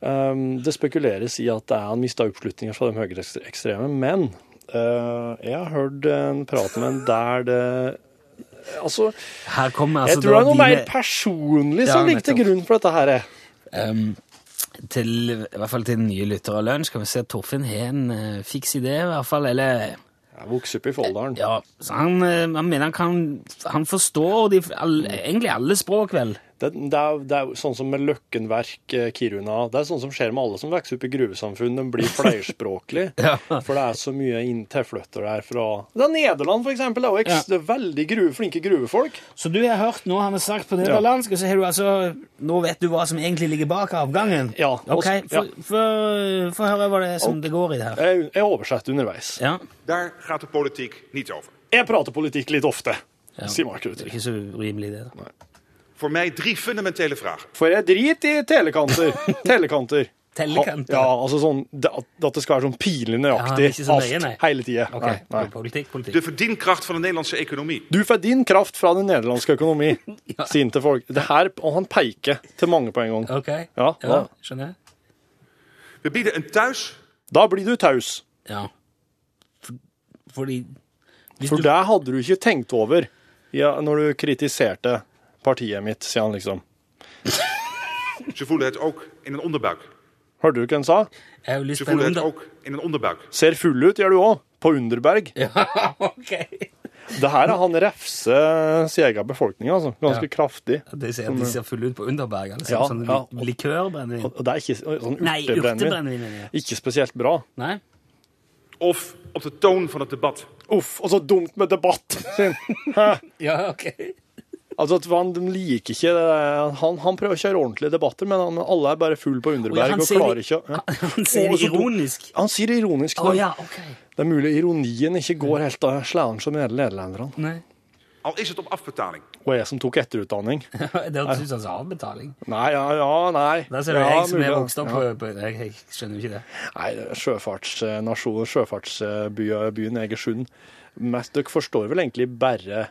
Speaker 2: Um, det spekuleres i at det er han mista oppslutninger fra de høyreekstreme, men eh, jeg har hørt en prat med en der det Altså,
Speaker 1: Her kommer
Speaker 2: jeg
Speaker 1: altså
Speaker 2: tror det er noe
Speaker 1: da
Speaker 2: mer
Speaker 1: dine-
Speaker 2: personlig
Speaker 1: Ja,
Speaker 2: som ligger til
Speaker 1: nettopp.
Speaker 2: grunn for dette her. eh.
Speaker 1: Ehm, til, I hvert fall til nye lyttere av lunsj kan vi se at Torfinn har en eh, fiks idé, i hvert fall. Eller
Speaker 2: Jeg vokste opp i Folldalen.
Speaker 1: Ja, så han, eh, han mener han kan Han forstår de, all, egentlig alle språk, vel?
Speaker 2: Det, det, er, det er jo sånn som med Løkkenverk, eh, Kiruna. Det er sånn som skjer med alle som vokser opp i gruvesamfunn. De blir flerspråklige.
Speaker 1: Ja.
Speaker 2: For det er så mye inn- tilflyttere der fra Det er Nederland, for eksempel. Det er jo eks- det er veldig gruve, flinke gruvefolk.
Speaker 1: Så du har hørt noe han har sagt på nederlandsk, og så har du altså Nå vet du hva som egentlig ligger bak avgangen?
Speaker 2: Ja, og-
Speaker 1: Ok,
Speaker 2: ja.
Speaker 1: få få- få høre hva det er som det går i det her.
Speaker 2: Jeg, jeg oversetter underveis.
Speaker 1: Ja.
Speaker 4: Daar gaat de politiek niet over.
Speaker 2: Jeg prater politikk litt ofte,
Speaker 1: ja.
Speaker 2: sier Mark
Speaker 1: Det er
Speaker 2: Rutter.
Speaker 1: Ikke så urimelig, det. da.
Speaker 4: Voor mij drie fundamentele vragen.
Speaker 2: For jeg driter i telekanter. telekanter.
Speaker 1: Tellekanter.
Speaker 2: Ha, ja, altså sånn det- at at det skal være sånn pinlig
Speaker 1: Ja,
Speaker 2: nøyaktig
Speaker 1: ikke så nøye,
Speaker 2: alt,
Speaker 1: nei.
Speaker 2: hele tida.
Speaker 1: Ok,
Speaker 2: Nei, nei.
Speaker 1: Politikk, politikk.
Speaker 4: De verdienkracht van de Nederlandse economie.
Speaker 2: Du får din kraft fra den nederlandske økonomi,
Speaker 1: Ja.
Speaker 2: sier han til folk. Det her, og han peker til mange på en gang.
Speaker 1: Ok,
Speaker 2: Ja, ja.
Speaker 1: skjønner jeg.
Speaker 4: We bieden een thuis.
Speaker 2: Da blir du taus,
Speaker 1: Ja. For, fordi hvis
Speaker 2: for
Speaker 1: du-
Speaker 2: det hadde du ikke tenkt over ja, når du kritiserte partiet mitt, sier han liksom.
Speaker 4: Ze voelen het ook in hun onderbuik.
Speaker 2: Hørte du hva han sa?
Speaker 1: Jeg har jo lyst
Speaker 4: Ze
Speaker 1: på en
Speaker 4: voelen het
Speaker 1: under...
Speaker 4: ook in hun onderbuik.
Speaker 2: Ser full ut, gjør du òg. På Underberg.
Speaker 1: Ja, ok.
Speaker 2: Det her er han refser sin egen befolkning, altså.
Speaker 1: Ja.
Speaker 2: Ganske kraftig.
Speaker 1: De ser, de ser fulle ut på Underberg. Liksom.
Speaker 2: Ja,
Speaker 1: sånn
Speaker 2: ja.
Speaker 1: li- likørbrennevin.
Speaker 2: Og og det er ikke sånn
Speaker 1: Nei,
Speaker 2: urtebrennevin.
Speaker 1: urtebrennevin, ja.
Speaker 2: Ikke spesielt bra.
Speaker 1: Nei?
Speaker 4: Of op de toon van het debat.
Speaker 2: Uff, og så dumt med debatt!
Speaker 1: Ja, ok.
Speaker 2: altså, at han de liker ikke det. Han, han prøver å kjøre ordentlige debatter, men han, alle er bare full
Speaker 1: Å,
Speaker 2: på
Speaker 1: ja,
Speaker 2: underberg
Speaker 1: han
Speaker 2: og
Speaker 1: sier
Speaker 2: klarer
Speaker 1: det-
Speaker 2: ikke å ja.
Speaker 1: Han sier
Speaker 2: Og
Speaker 1: det
Speaker 2: så dum-
Speaker 1: ironisk.
Speaker 2: Han sier det ironisk.
Speaker 1: Å
Speaker 2: da.
Speaker 1: ja, ok.
Speaker 2: Det er mulig ironien ikke går helt av slæren som hele nederlenderne.
Speaker 1: Nei.
Speaker 4: Al is het op afbetaling.
Speaker 2: Og jeg som tok etterutdanning.
Speaker 1: Det hørtes ut som altså avbetaling.
Speaker 2: Nei, ja, ja, nei.
Speaker 1: Der ser du
Speaker 2: ja,
Speaker 1: jeg som er
Speaker 2: mulig.
Speaker 1: vokst opp på, på jeg, jeg skjønner jo ikke det.
Speaker 2: Nei, det er sjøfartsnasjonen, sjøfartsbyen Egersund. Mest, dere forstår vel egentlig bare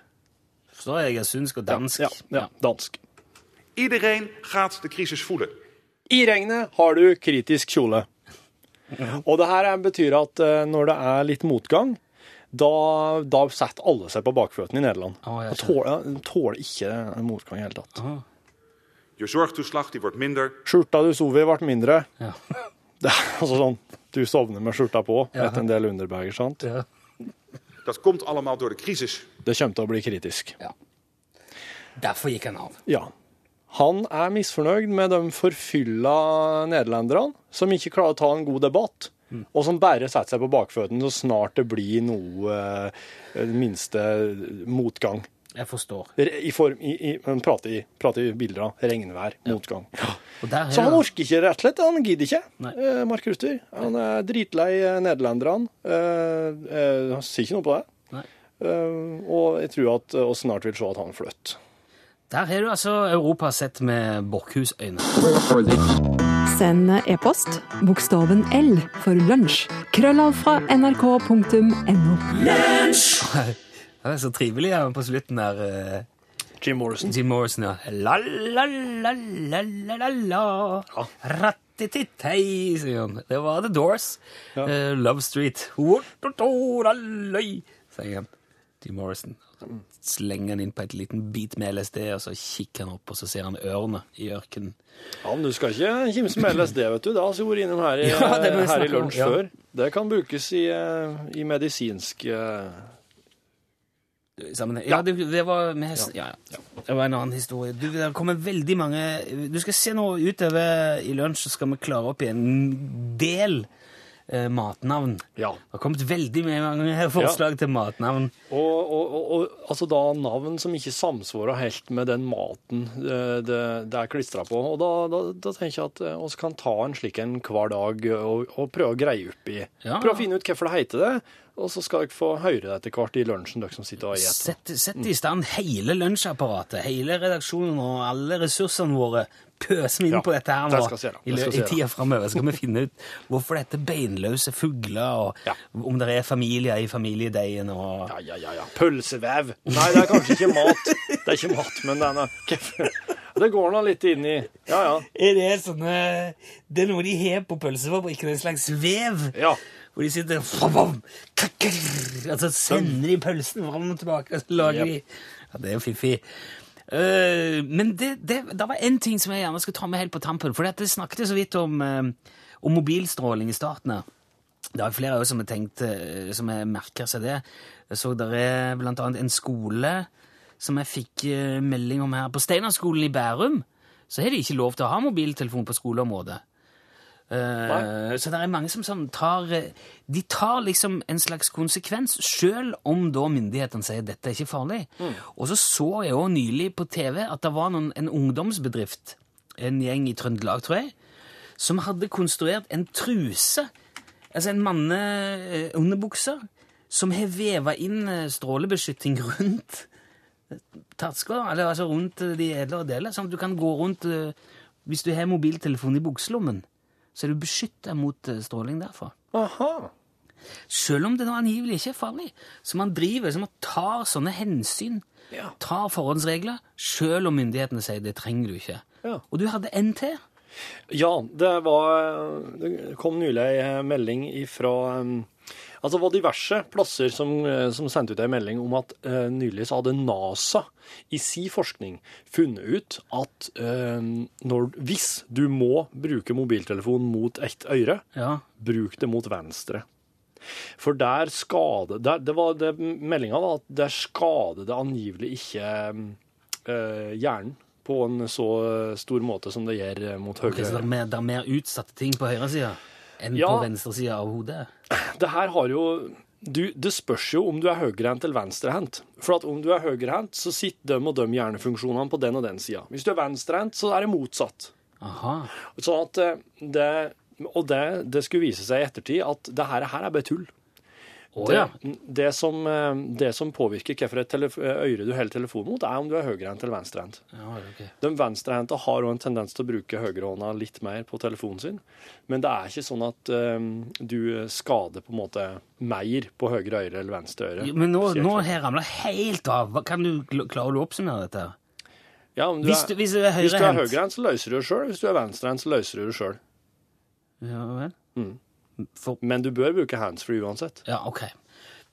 Speaker 1: Forstår jeg egersundsk og dansk?
Speaker 2: Ja, ja, dansk.
Speaker 4: Iedereen gaat de crisis voelen.
Speaker 2: I regnet har du kritisk kjole. Og det her er- betyr at eh, når det er litt motgang, da, da setter alle seg på bakføttene i Nederland.
Speaker 1: Å, jeg
Speaker 2: Og tåler, tåler ikke motgang i hele tatt.
Speaker 4: Je zorgtoeslag die wordt minder.
Speaker 2: Skjorta du sov i, ble mindre.
Speaker 1: Ja.
Speaker 2: Det er altså sånn, Du sovner med skjorta på
Speaker 1: Ja.
Speaker 2: etter en del underberger, sant?
Speaker 1: Ja.
Speaker 4: Dat komt allemaal door de crisis.
Speaker 2: Det kommer til å bli kritisk.
Speaker 1: Derfor gikk han av.
Speaker 2: Ja. Han er misfornøyd med de forfylla nederlenderne som ikke klarer å ta en god debatt,
Speaker 1: Mm.
Speaker 2: og som bare setter seg på bakføttene så snart det blir noe eh, minste motgang.
Speaker 1: Jeg forstår.
Speaker 2: Re- I form, i, i, men prate, i, prate i bilder av regnvær, motgang.
Speaker 1: Og der
Speaker 2: Så
Speaker 1: er
Speaker 2: han
Speaker 1: det-
Speaker 2: orker ikke, rett og slett. Han gidder ikke,
Speaker 1: Nei.
Speaker 2: eh, Mark Ruster. Han er dritlei eh, nederlenderne. Eh, eh, Han sier ikke noe på det.
Speaker 1: Nei.
Speaker 2: Eh, Og jeg tror at vi snart vil se at han flytter.
Speaker 1: Der har du altså Europa sett med Borchhus-øyne.
Speaker 7: Send e-post bokstaven L for lunsj. Krøllav fra nrk.no.
Speaker 1: Det er så trivelig her på slutten der. eh,
Speaker 2: Jim Morrison.
Speaker 1: Jim Morrison, ja. La, la, la, la, la, la, la. Rattitittei, sier han. Det var The Doors. Eh, Love Street. Wo-to-to-ra-løy, Sier han. Jim Morrison. Slenger han inn på et liten bit med LSD, og så kikker han opp, og så ser han ørene i ørkenen.
Speaker 2: Ja, men du skal ikke kimse med LSD, vet du. Det har vi vært innom her i,
Speaker 1: Ja, det må vi
Speaker 2: her i
Speaker 1: snakke om,
Speaker 2: lunsj
Speaker 1: ja.
Speaker 2: før. Det kan brukes i, eh, i medisinsk eh,
Speaker 1: sammenheng. Ja, det, det var med hesten. Ja, ja. Det var en annen historie. Du, det kommer veldig mange Du skal se nå utover i lunsj, så skal vi klare opp i en del eh, matnavn.
Speaker 2: Ja.
Speaker 1: Det har kommet veldig mange forslag til matnavn.
Speaker 2: Og, og, og, og altså da navn som ikke samsvarer helt med den maten eh, det, det er klistra på. Og da, da, da tenker jeg at eh, oss kan ta en slik en hver dag og, og prøve å greie opp i.
Speaker 1: Ja.
Speaker 2: Prøve å finne ut hvorfor det heter det, og så skal dere få høre det etter hvert i lunsjen, dere som sitter og spiser.
Speaker 1: Sett, sett i stand hele lunsjapparatet, hele redaksjonen og alle ressursene våre. Pøser vi inn
Speaker 2: Ja,
Speaker 1: på dette her
Speaker 2: det
Speaker 1: nå
Speaker 2: skal vi gjøre.
Speaker 1: i,
Speaker 2: Det
Speaker 1: lø-
Speaker 2: skal vi
Speaker 1: i
Speaker 2: gjøre.
Speaker 1: tida framover. Skal vi finne ut hvorfor dette beinløse fugler, og
Speaker 2: Ja.
Speaker 1: om det er familier i familiedeigen og
Speaker 2: Ja, ja, ja, ja. Pølsevev. Nei, det er kanskje ikke mat. Det er ikke mat, men det er noe Det går nå litt inn i Ja, ja.
Speaker 1: Er det sånne Det er noe de har på pølsefabrikken, en slags vev.
Speaker 2: Ja.
Speaker 1: Hvor de sitter fabam, kakker, Og så sender de pølsen fram og tilbake, og så lager
Speaker 2: Yep.
Speaker 1: de Ja, det er jo fiffig. Eh, men det, det, det var én ting som jeg gjerne skulle ta med helt på tampen. For dette snakket jeg så vidt om, eh, om mobilstråling i starten her. Det er flere av oss som har tenkt, eh, som har merker seg det. Jeg så der er blant annet en skole som jeg fikk eh, melding om her. På Steinerskolen i Bærum så har de ikke lov til å ha mobiltelefon på skoleområdet. Eh, så det er mange som sånn tar eh, De tar liksom en slags konsekvens, sjøl om da myndighetene sier dette er ikke farlig. Og så så jeg òg nylig på TV at det var noen, en ungdomsbedrift, en gjeng i Trøndelag, tror jeg, som hadde konstruert en truse, altså en manneunderbukse, som har veva inn eh, strålebeskytting rundt terskler, eller altså rundt eh, de edlere deler, sånn at du kan gå rundt eh, Hvis du har mobiltelefon i bukselommen, så er du beskytta mot eh, stråling derfra.
Speaker 2: Aha.
Speaker 1: Selv om det nå angivelig ikke er farlig. Så man driver, så man tar sånne hensyn.
Speaker 2: Ja.
Speaker 1: Tar forhåndsregler, selv om myndighetene sier det trenger du ikke.
Speaker 2: Ja.
Speaker 1: Og du hadde en til.
Speaker 2: Ja, det var Det kom nylig ei melding ifra um, Altså, det var diverse plasser som, eh, som sendte ut ei melding om at eh, nylig så hadde NASA i si forskning funnet ut at eh, når, hvis du må bruke mobiltelefon mot ett øre,
Speaker 1: Ja.
Speaker 2: bruk det mot venstre. For der skade... Der, det var det, meldinga var at der skader det angivelig ikke eh, hjernen på en så stor måte som det gjør mot
Speaker 1: Ok, så det
Speaker 2: høyre.
Speaker 1: er, mer, det er mer utsatte ting på høyresida enn
Speaker 2: Ja.
Speaker 1: på venstresida av hodet?
Speaker 2: det her har jo du, Det spørs jo om du er høyrehendt eller venstrehendt. For at om du er høyrehendt, så sitter de og de hjernefunksjonene på den og den sida. Hvis du er venstrehendt, så er det motsatt.
Speaker 1: Aha.
Speaker 2: Sånn at eh, det Og det, det skulle vise seg i ettertid at det her, her er bare tull.
Speaker 1: Å
Speaker 2: Det,
Speaker 1: ja.
Speaker 2: det, som, eh, det som påvirker hvilket telef- øre du holder telefonen mot, er om du er høyrehendt eller venstrehendt.
Speaker 1: ja ok.
Speaker 2: De venstrehendte har òg en tendens til å bruke høyrehånda litt mer på telefonen sin. Men det er ikke sånn at eh, du skader på en måte mer på høyre øre eller venstre øre.
Speaker 1: Jo, Men nå,
Speaker 2: Sier jeg
Speaker 1: nå har
Speaker 2: ikke.
Speaker 1: jeg ramla helt av. Hva- Kan du, kl- klarer du å oppsummere dette? her?
Speaker 2: ja, om du
Speaker 1: Hvis du,
Speaker 2: er,
Speaker 1: hvis du er
Speaker 2: hvis du er
Speaker 1: høyrehendt
Speaker 2: høyrehendt, så løser du det sjøl. Hvis du er venstrehendt, så løser du det sjøl.
Speaker 1: ja, vel? For,
Speaker 2: Men du bør bruke handsfree uansett.
Speaker 1: ja, OK.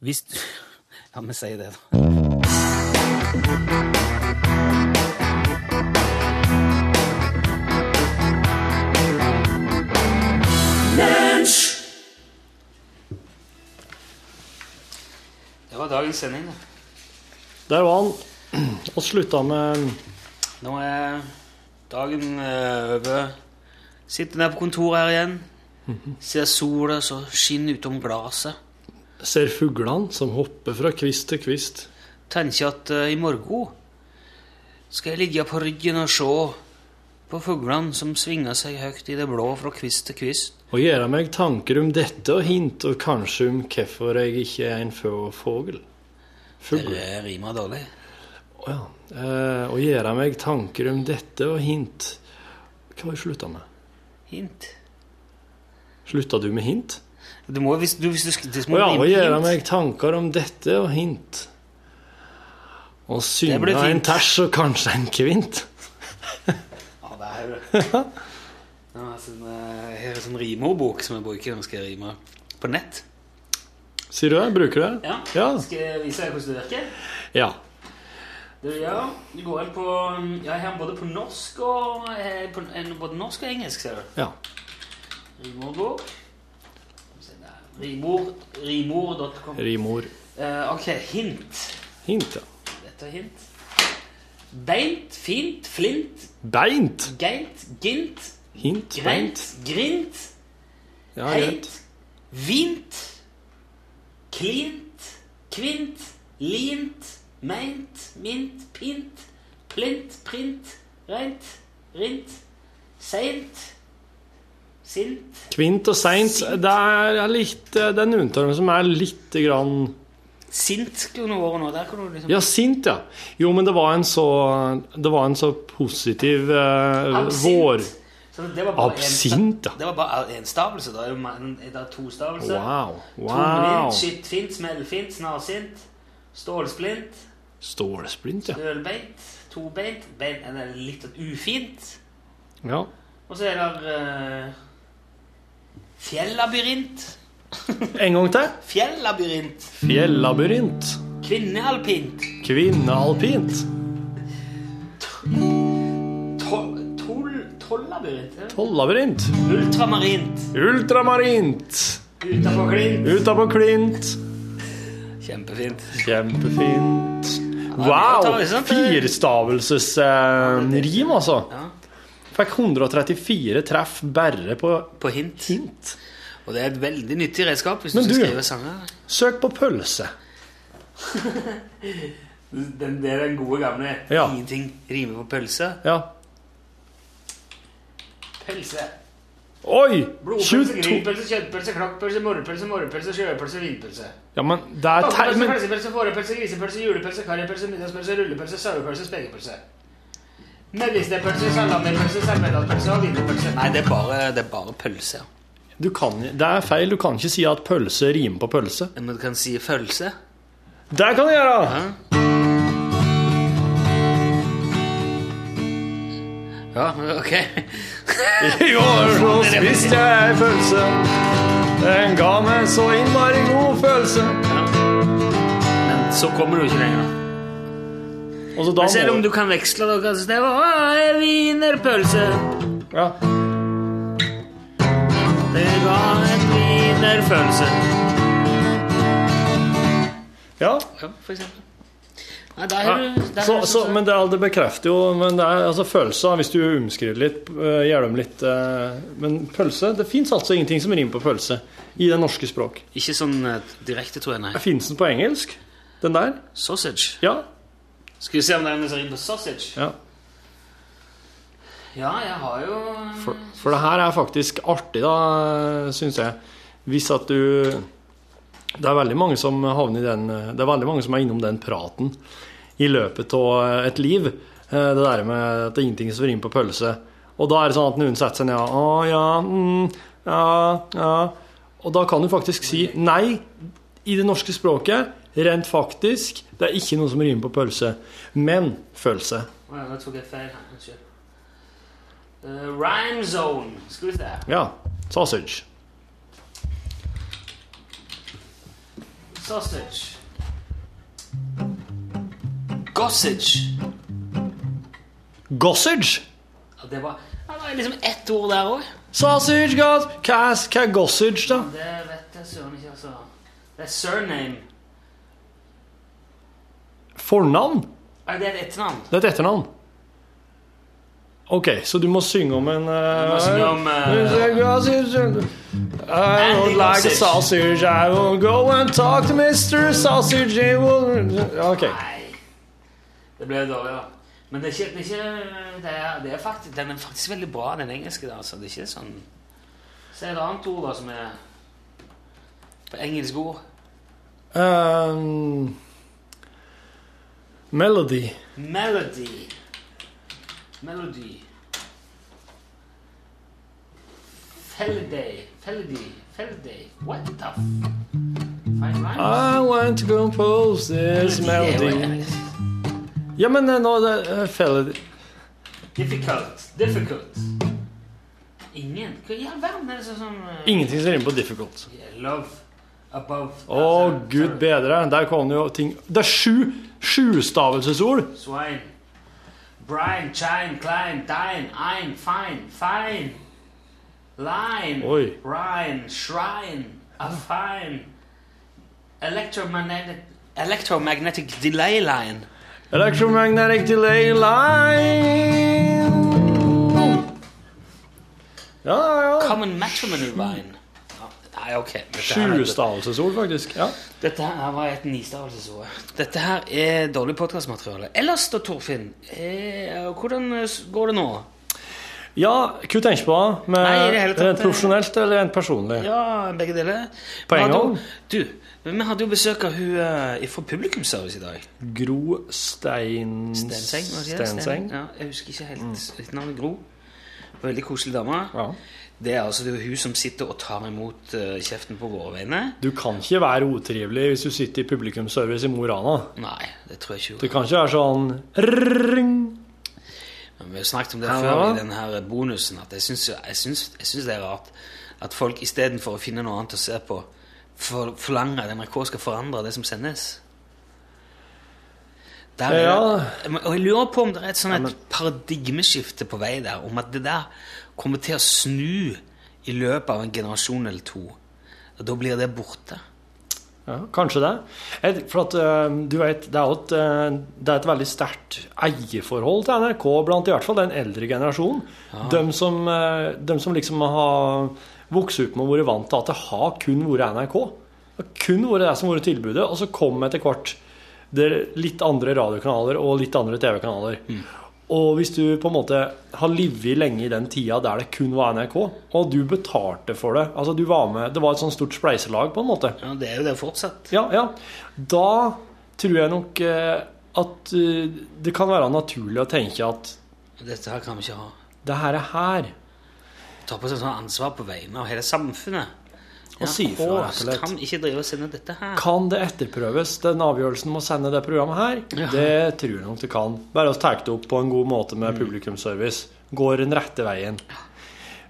Speaker 1: Hvis du Ja, vi sier det, da. Det var dagens sending. da.
Speaker 2: Der var han. Og slutta med
Speaker 1: Nå er dagen eh, over. Sitter ned på kontoret her igjen. Ser sola så skinner utom glasset.
Speaker 2: Ser fuglene som hopper fra kvist til kvist.
Speaker 1: Tenker at eh, i morgen skal jeg ligge på ryggen og se på fuglene som svinger seg høyt i det blå fra kvist til kvist.
Speaker 2: Og gjøre meg tanker om dette og hint, og kanskje om hvorfor jeg ikke er en få fugl. Fugl.
Speaker 1: Det rimer dårlig.
Speaker 2: Å ja. Eh, og gjøre meg tanker om dette og hint. Hva har jeg slutta med?
Speaker 1: Hint.
Speaker 2: Slutta du med hint?
Speaker 1: Du må, hvis du, hvis du, skal- det
Speaker 2: Å
Speaker 1: må
Speaker 2: ja,
Speaker 1: rime
Speaker 2: og
Speaker 1: på
Speaker 2: gjøre
Speaker 1: hint.
Speaker 2: meg tanker om dette og hint. Og synge
Speaker 1: ble
Speaker 2: en
Speaker 1: fint.
Speaker 2: ters og kanskje en kvint.
Speaker 1: Ja, det er jo det. Ja, sånn, eh, Her er en sånn rimeordbok som jeg bruker når jeg skal rime på nett.
Speaker 2: Sier du det? Bruker du det?
Speaker 1: Ja. Skal jeg vise deg hvordan det virker?
Speaker 2: Ja.
Speaker 1: Det du gjør, du går inn på mm, Ja, jeg har den både på norsk og eh, på, en- Både norsk og engelsk, ser du.
Speaker 2: ja.
Speaker 1: Rimordbok. Skal vi se der. Rimord. Rimord.com.
Speaker 2: Rimord.
Speaker 1: Eh, ok, hint.
Speaker 2: Hint, ja.
Speaker 1: Dette er hint. Beint, fint, flint,
Speaker 2: Beint.
Speaker 1: geint, gint,
Speaker 2: Hint.
Speaker 1: greint,
Speaker 2: Beint.
Speaker 1: grint,
Speaker 2: Ja,
Speaker 1: heit,
Speaker 2: greit.
Speaker 1: vint, klint, kvint, lint, meint, mint, pint, plint, print, reint, rint, seint, sint.
Speaker 2: Kvint og seint. Det er, litt, eh, det er noen av dem som er litt grann
Speaker 1: Sint skulle nå vært nå. Der kan du liksom
Speaker 2: Ja, sint, ja. Jo, men det var en så, det var en så positiv eh, vår...
Speaker 1: Så det var bare en-
Speaker 2: Absint, ja.
Speaker 1: Det var bare én stavelse. Da er det ma- en- det er to stavelser.
Speaker 2: Wow. wow.
Speaker 1: Tomlint, skittfint, smellfint, snarsint, stålsplint,
Speaker 2: Stålsplint, ja.
Speaker 1: ølbeint, tobeint, beint, eller litt ufint.
Speaker 2: ja.
Speaker 1: Og så er det eh, fjellabyrint.
Speaker 2: En gang til.
Speaker 1: Fjellabyrint.
Speaker 2: Fjellabyrint.
Speaker 1: Kvinnealpint.
Speaker 2: Kvinnealpint.
Speaker 1: to- tol- Tollabyrint. eh,
Speaker 2: Tollabyrint.
Speaker 1: Ultramarint.
Speaker 2: Ultramarint.
Speaker 1: Utafor klint.
Speaker 2: Utapå klint.
Speaker 1: Kjempefint.
Speaker 2: Kjempefint.
Speaker 1: det
Speaker 2: Wow!
Speaker 1: var sant, det.
Speaker 2: Firstavelsesrim, altså.
Speaker 1: Ja.
Speaker 2: Fikk 134 treff bare på
Speaker 1: På hint.
Speaker 2: hint.
Speaker 1: Og det er et veldig nyttig redskap hvis
Speaker 2: Men
Speaker 1: du skal
Speaker 2: du-
Speaker 1: skrive sanger.
Speaker 2: Søk på pølse.
Speaker 1: det er den gode gamle.
Speaker 2: Ja.
Speaker 1: Ingenting rimer på pølse.
Speaker 2: Ja.
Speaker 1: Pølse.
Speaker 2: Oi!
Speaker 1: Blodpølse,
Speaker 2: 22
Speaker 1: grillpølse, kjøttpølse, klakkpølse, morrepølse, morrepølse, sjøpølse, vinpølse.
Speaker 2: Ja, men det er tei...
Speaker 1: Pølse,
Speaker 2: Men,
Speaker 1: pølsepølse, fårepølse, grisepølse, julepølse, karripølse, middagspølse, rullepølse, sauepølse, spekepølse. Medisterpølse, salamipølse, servelatpølse og wienerpølse. Nei, det er bare, det er bare pølse.
Speaker 2: du kan, det er feil. Du kan ikke si at pølse rimer på pølse.
Speaker 1: Men du kan si følelse.
Speaker 2: Det kan du gjøre!
Speaker 1: Ja, ok.
Speaker 2: I går så spiste jeg ei pølse. Den ga meg så innmari god følelse.
Speaker 1: Men så kommer du ikke lenger.
Speaker 2: Og så da
Speaker 1: Men selv om
Speaker 2: må
Speaker 1: du kan veksle dere, så det var «Å, wienerpølse.
Speaker 2: ja.
Speaker 1: Det ga en wienerfølelse.
Speaker 2: Ja,
Speaker 8: Ja, for eksempel. Nei, der, er du- der,
Speaker 2: så,
Speaker 8: er du-
Speaker 2: så, men det, er- det bekrefter jo men det er, altså, følelser, hvis du omskriver litt, øh, gjør dem litt øh, Men pølse Det fins altså ingenting som rimer på pølse i det norske språk.
Speaker 8: Ikke sånn eh, direkte, tror jeg, nei.
Speaker 2: Fins den på engelsk? Den der?
Speaker 8: Sausage.
Speaker 2: Ja.
Speaker 8: Skal vi se om det er noe som rimer på sausage?
Speaker 2: ja.
Speaker 8: Ja, jeg har jo
Speaker 2: For, for det her er faktisk artig, da, syns jeg. Hvis at du Det er veldig mange som havner i den Det er veldig mange som er innom den praten i løpet av et liv. Eh, Det der med at det er ingenting som rimer på pølse. Og da er det sånn at noen setter seg ned og Å, ja, mm, ja, ja. Og da kan du faktisk si nei i det norske språket. Rent faktisk. Det er ikke noe som rimer på pølse. Men følelse.
Speaker 8: Å ja, nå tok jeg feil. her, Unnskyld. Eh, rhyme zone. Skal vi se.
Speaker 2: Ja. Sausage.
Speaker 8: Sausage. Gossage.
Speaker 2: Gossage!
Speaker 8: Ja, det var, ja, det var liksom ett ord der òg.
Speaker 2: Sausage goss... Hva er, hva er gossage, da?
Speaker 8: Det vet jeg søren ikke, altså. Det er surname.
Speaker 2: Fornavn?
Speaker 8: Nei, det er et etternavn.
Speaker 2: Det er et etternavn. OK, så du må synge om en eh,
Speaker 8: må synge om, eh,
Speaker 2: Sausage. I don't like
Speaker 8: Andy
Speaker 2: sausage. I will go and talk to Mr. Sausage. He will OK.
Speaker 8: Nei. Det ble jo dårlig, da. Men det er ikke, det er ikke det er, det er faktisk, Den er faktisk veldig bra, den engelske. da, altså. Det er ikke sånn Se et annet ord da, som er på engelske ord.
Speaker 2: Um, melody.
Speaker 8: Melody. Melody. Feliday. Feliday. Feliday. What the f... Fine rhymes.
Speaker 2: I want to compose this Ah, melody. Ja, men eh, nå det eh, feller
Speaker 8: Difficult. Difficult. Mm. Ingen? Hva i all verden er det sånn som eh,
Speaker 2: Ingenting som rimer på difficult.
Speaker 8: Love above
Speaker 2: Å, gud bedre. Der kom det jo ting Det er sju sjustavelsesord.
Speaker 8: Swine. Brian, chine, climb, dine, ein, fine, fine. Line,
Speaker 2: Oi.
Speaker 8: rhine, shrine, a fine. Electromagnetic, electromagnetic delay line.
Speaker 2: Electromagnetic delay line. Ja, ja.
Speaker 8: Common matrimony line. Oh, Nei, ok. Dette her, er-
Speaker 2: Sjustavelsesord, faktisk. Ja.
Speaker 8: dette her var et nistavelsesord. Dette her er dårlig podkastmateriale. Ellers da, Torfinn, eh, hvordan eh, s- går det nå?
Speaker 2: ja, hva tenker du på da? Med
Speaker 8: Nei, i det hele tatt, eh,
Speaker 2: rent profesjonelt eller rent personlig?
Speaker 8: Ja, begge deler.
Speaker 2: På en
Speaker 8: Vi hadde jo-
Speaker 2: gang.
Speaker 8: Du, vi hadde jo besøk av hun eh, fra Publikumsservice i dag.
Speaker 2: Gro Stein...
Speaker 8: Stenseng. var det ikke det?
Speaker 2: Stenseng.
Speaker 8: Ja, jeg husker ikke helt mm. navnet. Gro. Veldig koselig dame.
Speaker 2: Ja.
Speaker 8: Det er altså det er jo hun som sitter og tar imot eh, kjeften på våre vegne.
Speaker 2: Du kan ikke være utrivelig hvis du sitter i publikumsservice i Mo i Rana.
Speaker 8: Nei, det tror jeg ikke hun
Speaker 2: Du kan ikke være sånn Ring.
Speaker 8: Men Vi har jo snakket om det
Speaker 2: Ja.
Speaker 8: før i den her bonusen, at jeg syns, jeg syns, jeg syns det er rart at folk istedenfor å finne noe annet å se på, for, forlanger at NRK skal forandre det som sendes. Der er
Speaker 2: Ja.
Speaker 8: det, og jeg lurer på om det er et sånn et paradigmeskifte på vei der, om at det der kommer til å snu i løpet av en generasjon eller to. Og da blir det borte.
Speaker 2: Ja, kanskje det. Et, for at, eh, du vet, det er jo et, eh, det er et veldig sterkt eierforhold til NRK blant i hvert fall den eldre generasjonen. De, som, eh, dem som liksom har vokst opp med og vært vant til at det har kun vært NRK. Det har kun vært det som har vært tilbudet, og så kom etter hvert det litt andre radiokanaler og litt andre TV-kanaler. Og hvis du på en måte har livet lenge i den tida der det kun var NRK, og du betalte for det altså du var med, Det var et sånt stort spleiselag, på en måte.
Speaker 8: Ja, det er jo det fortsatt.
Speaker 2: Ja, ja. Da tror jeg nok eh, at eh, det kan være naturlig å tenke at
Speaker 8: Dette her kan vi ikke ha.
Speaker 2: det her er her.
Speaker 8: Ta på seg sånn ansvar på vegne av hele samfunnet.
Speaker 2: Og si ifra,
Speaker 8: Åh,
Speaker 2: rett og slett.
Speaker 8: Kan ikke drive og sende dette her.
Speaker 2: Kan det etterprøves, den avgjørelsen om å sende det programmet her?
Speaker 8: Ja.
Speaker 2: Det tror jeg nok det kan. Bare å ta det opp på en god måte med publikumsservice. Går den rette veien.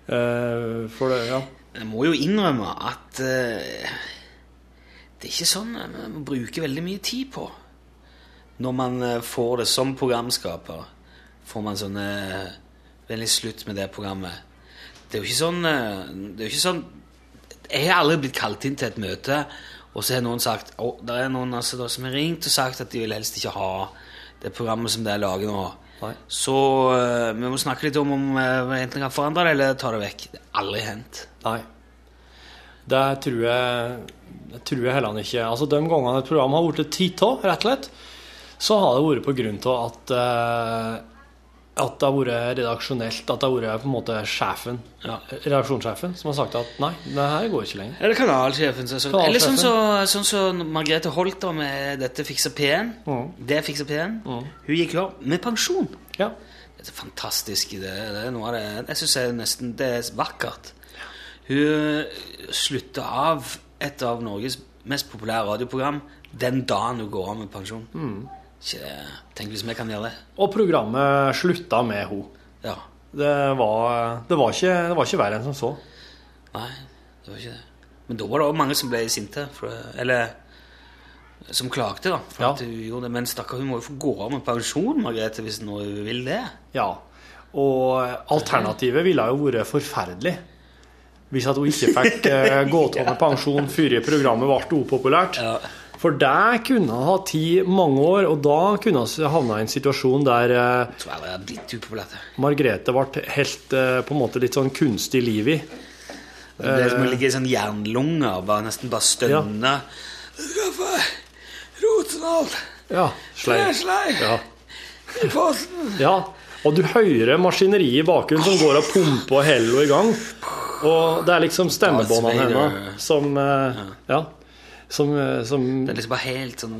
Speaker 2: Eh, for det, ja.
Speaker 8: Jeg må jo innrømme at eh, det er ikke sånn man bruker veldig mye tid på. Når man eh, får det som programskaper, får man sånn eh, Vennlig slutt med det programmet. Det er jo ikke sånn eh, Det er jo ikke sånn Jeg har aldri blitt kalt inn til et møte, Og så har noen sagt å, Det er noen altså, da, som har ringt og sagt at de vil helst ikke ha det programmet som det er laget nå.
Speaker 2: Nei.
Speaker 8: Så eh, vi må snakke litt om om eh, vi enten kan forandre det eller ta det vekk. Det har aldri hendt.
Speaker 2: Nei. Det tror jeg, det tror jeg heller ikke. Altså, De gangene et program har blitt titt av, rett og slett, så har det vært på grunn av at, eh, at det har vært redaksjonelt, at det har vært på en måte sjefen,
Speaker 8: Ja.
Speaker 2: redaksjonssjefen, som har sagt at nei, det her går ikke lenger.
Speaker 8: Eller kanalsjefen. Så, så.
Speaker 2: Kanalsjefen.
Speaker 8: Eller sånn som så, sånn som Margrethe Holt da, med dette fikser P1. Det fikser P1. Hun gikk jo av med pensjon.
Speaker 2: Ja.
Speaker 8: Det er fantastisk. Det, det er noe av det Jeg syns det er nesten det er vakkert. Hun slutta av et av Norges mest populære radioprogram den dagen hun går av med pensjon. Ikke det. Tenk hvis vi kan gjøre det.
Speaker 2: Og programmet slutta med henne.
Speaker 8: Ja.
Speaker 2: Det var, det, var ikke, det var ikke verre enn som så.
Speaker 8: Nei, det var ikke det. Men da var det òg mange som ble sinte. For, eller som klagde, da. For
Speaker 2: Ja.
Speaker 8: at hun gjorde det. Men stakkar, hun må jo få gå av med pensjon, Margrethe, hvis nå hun vil det.
Speaker 2: Ja. Og alternativet ville jo vært forferdelig. Hvis at hun ikke fikk eh, gått av med pensjon før programmet ble upopulært.
Speaker 8: Ja.
Speaker 2: For det kunne hun ha tatt mange år, og da kunne hun havna i en situasjon der eh,
Speaker 8: Jeg tror aldri det er blitt upopulært. det.
Speaker 2: Margrethe ble helt eh, på en måte litt sånn kunstig liv i.
Speaker 8: Det er
Speaker 2: Eh.
Speaker 8: som å ligge i sånn jernlunge og bare, nesten bare stønne. Ja. Rotenhold!
Speaker 2: Ja, slei.
Speaker 8: Sleip.
Speaker 2: Ja.
Speaker 8: I posten!
Speaker 2: ja. Og du hører maskineriet i bakgrunnen som går og pumper og heller henne i gang. Og det er liksom stemmebåndene
Speaker 8: Darth Vader.
Speaker 2: hennes som eh, Ja. Som, eh, som
Speaker 8: Det er liksom bare helt sånn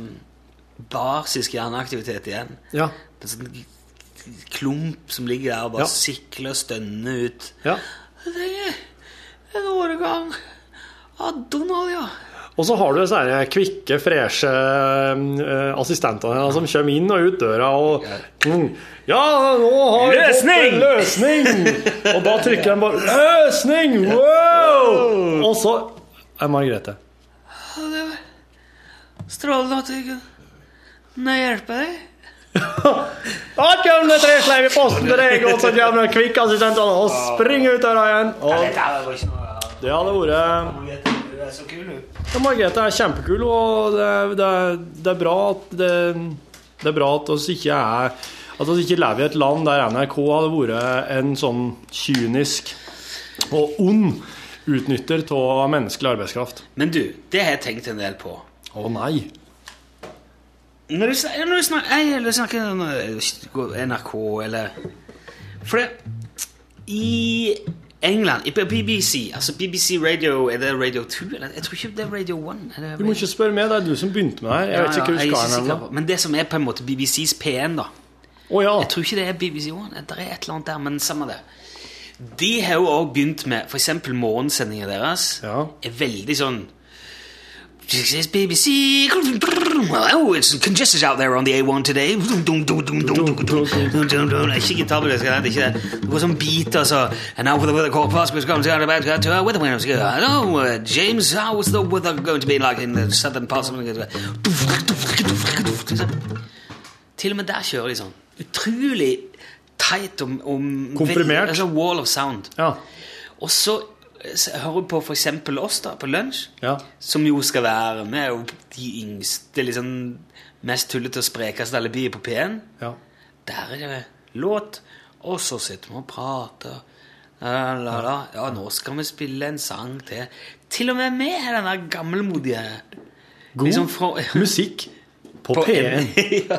Speaker 8: basisk hjerneaktivitet igjen.
Speaker 2: Ja.
Speaker 8: Det er sånn klump som ligger der og bare
Speaker 2: Ja.
Speaker 8: sikler og stønner ut.
Speaker 2: ja.
Speaker 8: Jeg trenger en årgang av Donald, ja.
Speaker 2: Og så har du disse her kvikke, freshe eh, assistentene hennes som kommer inn og ut døra og mm, Ja, nå har vi fått en løsning! Og da trykker de bare 'Løsning!' Wow! Og så er Margrethe.
Speaker 8: Strålende at jeg kunne hjelpe deg.
Speaker 2: Da kommer det tre sleiv i posten til deg, og så kommer den kvikke assistenten og springer ut døra igjen. Og det hadde vært Ja, Margrethe er kjempekul, og det, er- det, er- det er bra at det, det er bra at oss ikke er At oss ikke lever i et land der NRK hadde vært en sånn kynisk og ond utnytter av menneskelig arbeidskraft.
Speaker 8: Men du, det har jeg tenkt en del på.
Speaker 2: Å nei.
Speaker 8: Når du snakker, når du snakker, nei, eller snakker om, eh, NRK eller For det I England i BBC altså BBC Radio Er det Radio 2? Eller? Jeg tror ikke det er Radio 1. Er det
Speaker 2: Du må ikke spørre meg, det er du som begynte med det her. Jeg vet ikke
Speaker 8: Ja,
Speaker 2: hva
Speaker 8: jeg
Speaker 2: du
Speaker 8: er
Speaker 2: skal
Speaker 8: sikker
Speaker 2: hen.
Speaker 8: på- Men det som er på en måte BBCs P1, da
Speaker 2: Å ja.
Speaker 8: jeg tror ikke det er BBC One. Det er et eller annet der, men samme det. De har jo også begynt med For eksempel morgensendingene deres
Speaker 2: Ja.
Speaker 8: er veldig sånn This is BBC Oh, it's congested out there on the A1 today. Ikke gitarbeløs, det er ikke det. Det går sånn biter, så And now for the weather forecast, we're going to have about to our weather windows. Hello, uh, James, how is the weather going to be like in the southern parts of til og med der kjører de sånn. Utrolig tight om, om
Speaker 2: Komprimert.
Speaker 8: Altså wall of sound.
Speaker 2: ja.
Speaker 8: Og så eh, s- hører du på for eksempel oss da, på lunsj,
Speaker 2: Ja.
Speaker 8: som jo skal være Vi er jo de yngste, liksom mest tullete og sprekeste alibiet på P1.
Speaker 2: ja.
Speaker 8: Der er det låt, og så sitter vi og prater. La, la, la. Ja, nå skal vi spille en sang til. Til og med vi er den der gammelmodige
Speaker 2: God
Speaker 8: Liksom fra-
Speaker 2: musikk på,
Speaker 8: På
Speaker 2: P1.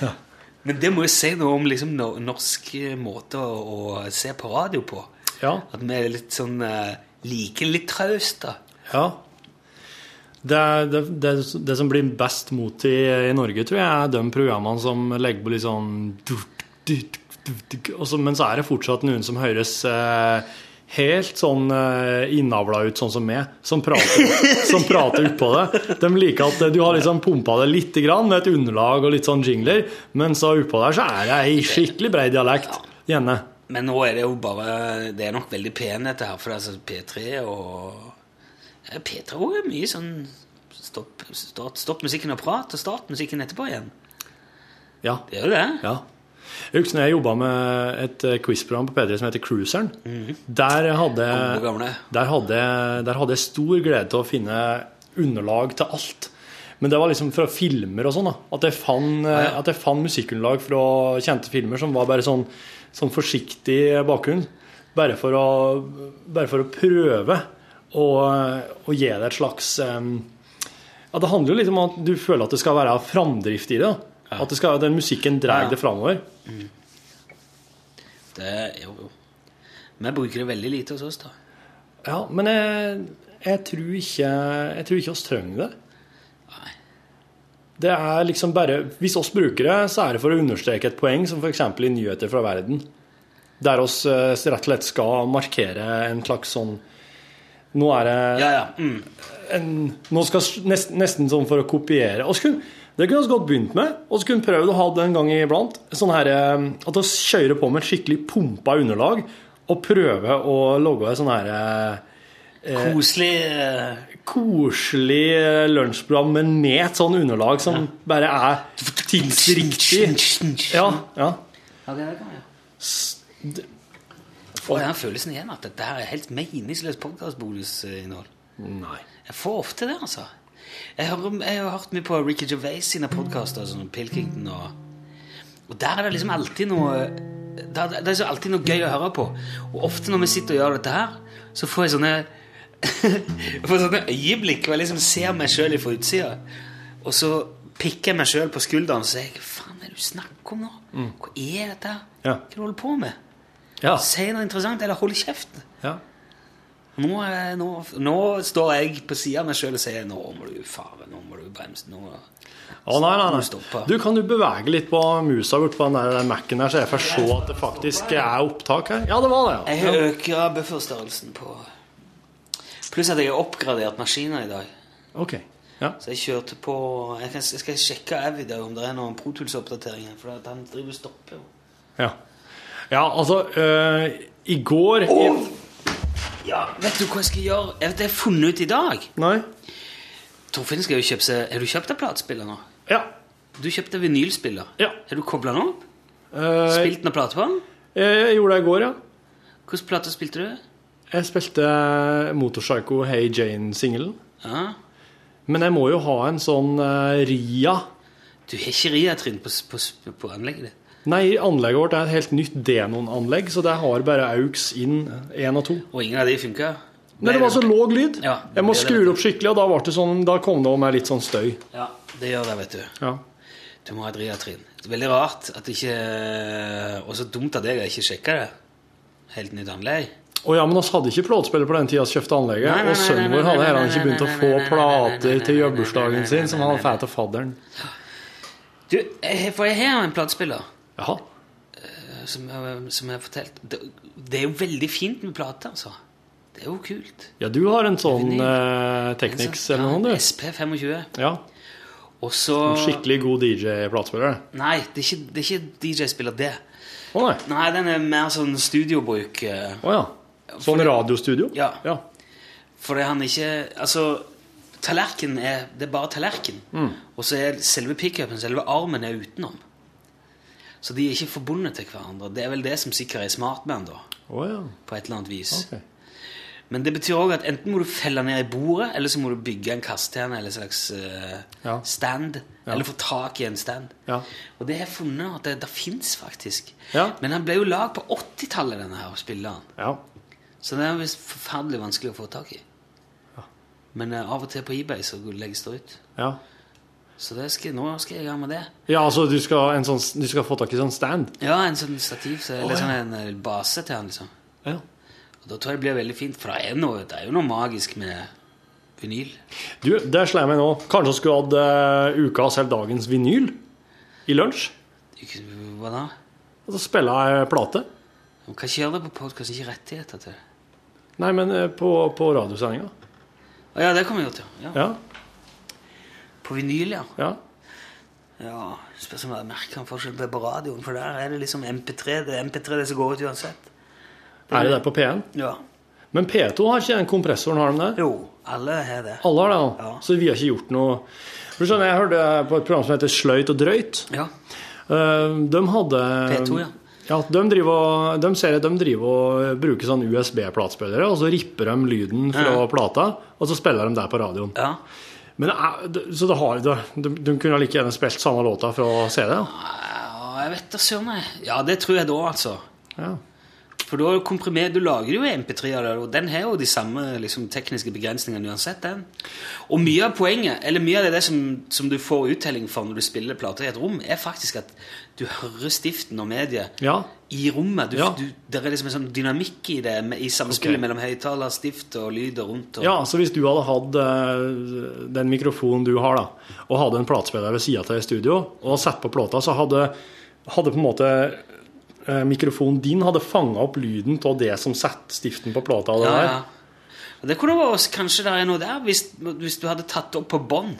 Speaker 8: ja. Men det må jo si noe om liksom, no- norsk eh, måte å, å se på radio på.
Speaker 2: Ja.
Speaker 8: At vi er litt sånn eh, like litt traust, da.
Speaker 2: Ja. Det, er- det, det, det som blir best mot i, i Norge, tror jeg, er de programmene som legger på litt sånn og så, Men så er det fortsatt noen som høres eh, helt sånn eh, innavla ut, sånn som meg, som prater, som prater utpå det. De liker at du har liksom pumpa det lite grann med et underlag og litt sånn jingler, men så utpå der så er det ei skikkelig brei dialekt. Gjerne.
Speaker 8: Men nå er det jo bare Det er nok veldig pen, dette her, for det er altså P3 og ja, P3 også er mye sånn Stopp, start, stopp musikken og prat, og start musikken etterpå igjen.
Speaker 2: Ja.
Speaker 8: Det er jo det.
Speaker 2: Ja. Jeg husker når jeg jobba med et eh, quizprogram på P3 som heter Cruiseren. Der hadde
Speaker 8: Gode Mhm. gamle.
Speaker 2: der hadde, der hadde jeg stor glede til å finne underlag til alt. Men det var liksom fra filmer og sånn. da, At jeg fant, eh, at jeg fant musikkunderlag fra kjente filmer som var bare sånn, sånn forsiktig bakgrunn. Bare for å, bare for å prøve å, eh, å gi det et slags eh, ja, Det handler jo litt om at du føler at det skal være framdrift i det. da. At det skal, den musikken drar
Speaker 8: Ja.
Speaker 2: det framover.
Speaker 8: Det, jo, jo. Vi bruker det veldig lite hos oss, da.
Speaker 2: Ja, men jeg, jeg tror ikke Jeg tror ikke oss trenger det. Det er liksom bare Hvis oss bruker det, så er det for å understreke et poeng, som f.eks. i nyheter fra verden. Der oss eh, rett og slett skal markere en slags sånn Nå er det
Speaker 8: Ja, ja. Mm.
Speaker 2: en, nå skal s- nest, nesten sånn for å kopiere. Og så kunne, det kunne vi godt begynt med. Og så kunne vi prøvd å ha det en gang iblant. Sånn her, eh, at vi kjører på med et skikkelig pumpa underlag og prøver å logge et sånn her eh,
Speaker 8: Koselig eh,
Speaker 2: koselig eh, lunsjprogram, men med et sånn underlag som bare er tidsriktig. Ja, ja.
Speaker 8: Ja, det kan jeg. Jeg får den følelsen igjen at dette her er helt meningsløst podkastbonusinnhold.
Speaker 2: Nei.
Speaker 8: Jeg får ofte det, altså. Jeg har, jeg har hørt mye på Ricky Gervais sine podkaster, som Pilkington og Og der er det liksom alltid noe Det er, det er liksom alltid noe gøy å høre på. Og ofte når vi sitter og gjør dette her, så får jeg sånne jeg får sånne øyeblikk hvor jeg liksom ser meg sjøl fra utsida. Og så pikker jeg meg sjøl på skulderen og sier jeg, Hva faen er det du snakker om nå? Hva er dette? her?
Speaker 2: Mm. Ja.
Speaker 8: Hva er det du holder på med?
Speaker 2: Ja.
Speaker 8: Si noe interessant, eller hold kjeft.
Speaker 2: ja.
Speaker 8: Nå, er- nå, nå står jeg på sida av meg sjøl og sier Nå må du fare, nå må du bremse. Nå.
Speaker 2: Å, nei, nei,
Speaker 8: Må
Speaker 2: nei.
Speaker 8: stoppe.
Speaker 2: Du, kan du bevege litt på musa bort på den der Mac-en her, så jeg får se at det faktisk er opptak her? Ja, det var det,
Speaker 8: Jeg
Speaker 2: ja.
Speaker 8: har øker bufferstørrelsen på Pluss at jeg har oppgradert maskiner i dag.
Speaker 2: Ok. Ja.
Speaker 8: Så jeg kjørte på Jeg, kan, jeg skal sjekke Avid om det er noen Protools-oppdateringer, for at han driver og stopper. jo.
Speaker 2: Ja, ja altså øh, I går
Speaker 8: Vet du hva jeg skal gjøre? Jeg vet det jeg har funnet ut i dag.
Speaker 2: Nei?
Speaker 8: Torfinn skal jo kjøpe seg Har du kjøpt deg platespiller nå?
Speaker 2: Ja.
Speaker 8: Du kjøpte vinylspiller.
Speaker 2: Ja.
Speaker 8: Har du kobla den opp?
Speaker 2: Øh,
Speaker 8: Spilt noen plater på den?
Speaker 2: jeg, jeg gjorde det i går, ja.
Speaker 8: Hvilke plater spilte du?
Speaker 2: Jeg spilte Motorpsycho Hey Jane-singelen.
Speaker 8: Ja.
Speaker 2: Men jeg må jo ha en sånn eh, Ria.
Speaker 8: Du har ikke riatrinn på, på, på anlegget ditt?
Speaker 2: Nei, anlegget vårt er et helt nytt Denon-anlegg, så det har bare aux inn én og to.
Speaker 8: Og ingen av de funka?
Speaker 2: Men det var så låg lyd.
Speaker 8: Ja,
Speaker 2: jeg må
Speaker 8: det er det.
Speaker 2: skru det opp skikkelig, og da, ble det sånn, da kom det med litt sånn støy.
Speaker 8: Ja, det gjør det, vet du.
Speaker 2: Ja.
Speaker 8: Du må ha et riatrinn. Det er veldig rart at ikke eh, Og så dumt av deg å ikke sjekke det. Helt nytt anlegg.
Speaker 2: Og ja, men oss hadde ikke platespiller på den tida vi kjøpte anlegget,
Speaker 8: Nei, nei,
Speaker 2: og sønnen
Speaker 8: nei, nei,
Speaker 2: vår hadde
Speaker 8: nei,
Speaker 2: heller
Speaker 8: nei,
Speaker 2: ikke begynt å
Speaker 8: nei,
Speaker 2: få
Speaker 8: nei, nei, nei,
Speaker 2: plater
Speaker 8: nei,
Speaker 2: til
Speaker 8: nei, nei,
Speaker 2: jobbursdagen
Speaker 8: nei,
Speaker 2: sin, som
Speaker 8: nei,
Speaker 2: han
Speaker 8: nei,
Speaker 2: fælt av fadderen.
Speaker 8: Du, jeg, for jeg har en platespiller eh,
Speaker 2: Jaha.
Speaker 8: som, jeg- som jeg har fortalt. Det, det er jo veldig fint med plater, altså. Det er jo kult.
Speaker 2: Ja, du har en sånn
Speaker 8: Vinyl.
Speaker 2: eh,
Speaker 8: En
Speaker 2: Technics
Speaker 8: sånn-
Speaker 2: eller
Speaker 8: ja,
Speaker 2: noe, du.
Speaker 8: SP25.
Speaker 2: Ja.
Speaker 8: Og så
Speaker 2: Skikkelig god DJ-platespiller.
Speaker 8: Nei, det er ikke, det er ikke DJ-spiller, det.
Speaker 2: Å nei.
Speaker 8: Nei, den er mer sånn studiobruk. eh.
Speaker 2: Å ja. Sånn radiostudio?
Speaker 8: Ja.
Speaker 2: ja.
Speaker 8: Fordi han ikke Altså, tallerken er Det er bare tallerken.
Speaker 2: Mm.
Speaker 8: Og så er selve pickupen, selve armen, er utenom. Så de er ikke forbundet til hverandre. Det er vel det som sikkert er smart med han, da.
Speaker 2: Å ja.
Speaker 8: På et eller annet vis.
Speaker 2: Ok.
Speaker 8: Men det betyr òg at enten må du felle ned i bordet, eller så må du bygge en kasse til han, eller en slags eh,
Speaker 2: Ja.
Speaker 8: stand. Eller få tak i en stand.
Speaker 2: Ja.
Speaker 8: Og det har jeg funnet at det, det fins faktisk.
Speaker 2: Ja.
Speaker 8: Men han ble jo lagd på 80-tallet, denne her spilleren.
Speaker 2: Ja.
Speaker 8: Så det er visst forferdelig vanskelig å få tak i. Men eh, av og til på eBay så legges det ut.
Speaker 2: ja.
Speaker 8: Så det skal, nå skal jeg i gang med det.
Speaker 2: Ja, altså du skal, en sånn, du skal få tak i sånn stand?
Speaker 8: Ja, en sånn stativ, så,
Speaker 2: Å,
Speaker 8: eller
Speaker 2: ja.
Speaker 8: sånn en eh, base til han, liksom.
Speaker 2: Ja.
Speaker 8: Og da tror jeg det blir veldig fint, for det er, noe, det er jo noe magisk med vinyl.
Speaker 2: Du, der slår jeg meg nå. Kanskje vi skulle hatt eh, ukas eller dagens vinyl i lunsj?
Speaker 8: Ikke- Hva da?
Speaker 2: Og så spille ei plate?
Speaker 8: Man kan ikke gjøre det på podkast, ikke rettigheter til det.
Speaker 2: Nei, men eh, på, på radiosendinga.
Speaker 8: Å ja, det kommer vi jo til. Ja.
Speaker 2: Ja.
Speaker 8: På vinyl, ja.
Speaker 2: ja.
Speaker 8: Ja, Spørs om jeg merker en forskjell på radioen, for der er det liksom MP3. Det er MP3 det som går ut uansett.
Speaker 2: Er det der på P1?
Speaker 8: Ja.
Speaker 2: Men P2 har ikke den kompressoren, har de det?
Speaker 8: Jo, alle har det.
Speaker 2: Alle har det nå,
Speaker 8: Ja.
Speaker 2: så vi har ikke gjort noe For du skjønner, Jeg hørte på et program som heter Sløyt og drøyt.
Speaker 8: Ja.
Speaker 2: Eh, De hadde
Speaker 8: P2, ja.
Speaker 2: Ja, de, driver, og- de ser at de driver og bruker sånn USB-platespillere, og så ripper de lyden fra
Speaker 8: Ja.
Speaker 2: plata, og så spiller de der på radioen.
Speaker 8: ja.
Speaker 2: Men det er, det- så det har, det, de, de kunne like gjerne spilt samme låta fra CD? da.
Speaker 8: Ja, Ah, jeg vet da søren, jeg. Ja, det tror jeg da, altså.
Speaker 2: Ja.
Speaker 8: For da komprimerer du lager jo MP3 av det, og den har jo de samme liksom, tekniske begrensningene uansett. den. Og mye av poenget, eller mye av det som, som du får uttelling for når du spiller plater i et rom, er faktisk at du hører stiften og mediet
Speaker 2: Ja.
Speaker 8: i rommet. Du,
Speaker 2: Ja.
Speaker 8: du, det er liksom en sånn dynamikk i det, med- i samspillet
Speaker 2: Ok.
Speaker 8: mellom høyttaler, stift og lyder rundt. Og,
Speaker 2: ja, så hvis du hadde hatt eh, den mikrofonen du har, da, og hadde en platespiller ved sida av i studio, og satt på plata, så hadde, hadde på en måte eh, mikrofonen din hadde fanga opp lyden av det som satte stiften på plata. og Det
Speaker 8: Ja,
Speaker 2: der.
Speaker 8: ja. Og Det kunne vært kanskje det er noe der, hvis, hvis du hadde tatt det opp på bånd.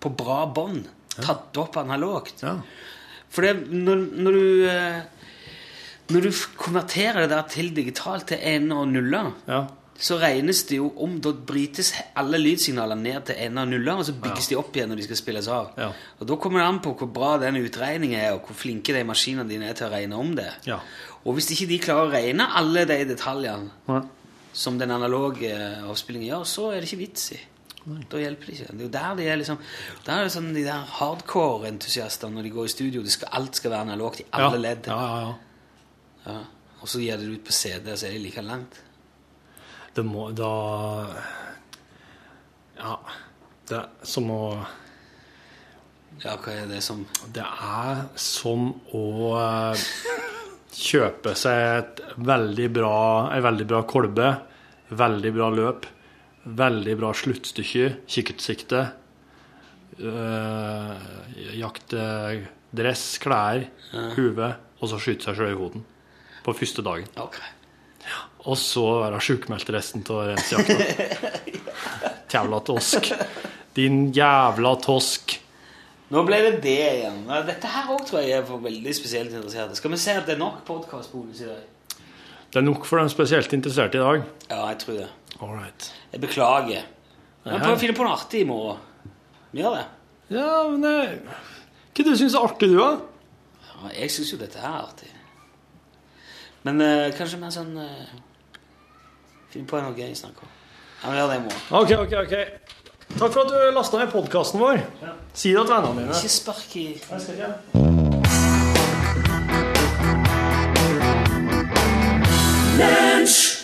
Speaker 8: På bra bånd. Tatt det opp analogt.
Speaker 2: Ja.
Speaker 8: For det, når, når du eh, Når du f- konverterer det der til digitalt, til ener og nuller,
Speaker 2: Ja.
Speaker 8: så regnes det jo om Da brytes he- alle lydsignaler ned til ener og nuller, og så bygges de opp igjen når de skal spilles av.
Speaker 2: Ja.
Speaker 8: Og Da kommer det an på hvor bra den utregningen er, og hvor flinke de maskinene dine er til å regne om det.
Speaker 2: Ja.
Speaker 8: Og hvis ikke de klarer å regne alle de detaljene
Speaker 2: Nei.
Speaker 8: som den analoge eh, avspillingen gjør, så er det ikke vits i. Da hjelper det ikke. Det er jo der de er liksom Der er det sånn de der hardcore-entusiastene når de går i studio. Det skal, alt skal være analogt i
Speaker 2: ja.
Speaker 8: alle ledd.
Speaker 2: Ja, ja, ja.
Speaker 8: Ja. Og så gir de det ut på CD, og så er det like langt.
Speaker 2: Det må da Ja. Det er som å
Speaker 8: Ja, hva er det som
Speaker 2: Det er som å eh, kjøpe seg et veldig bra, en veldig bra kolbe, veldig bra løp, veldig bra sluttstykke, kikkertsikte, øh, jakte dress, klær, hue, og så skyte seg sjøl i hodet på første dagen.
Speaker 8: Ok.
Speaker 2: Og så være sjukmeldt resten av rensejakta. Jævla tosk. Din jævla tosk.
Speaker 8: Nå ble det det igjen. Ja, Dette her òg tror jeg er for veldig spesielt interesserte. Skal vi se at det er nok podkastbonus i dag?
Speaker 2: Det er nok for dem spesielt interesserte i dag.
Speaker 8: Ja, jeg tror det.
Speaker 2: All right.
Speaker 8: Jeg beklager. Men prøv å finne på noe artig i morgen. Vi gjør det.
Speaker 2: Ja, men det... Hva du syns er artig, du, da?
Speaker 8: Ja, jeg syns jo dette er artig. Men eh, kanskje mer sånn uh, Finn på noe gøy å snakke om. Ja, men gjør det i morgen.
Speaker 2: OK, OK. ok. Takk for at du lasta ned podkasten vår. Si det til vennene dine.
Speaker 8: Ikke spark i
Speaker 2: Lunsj!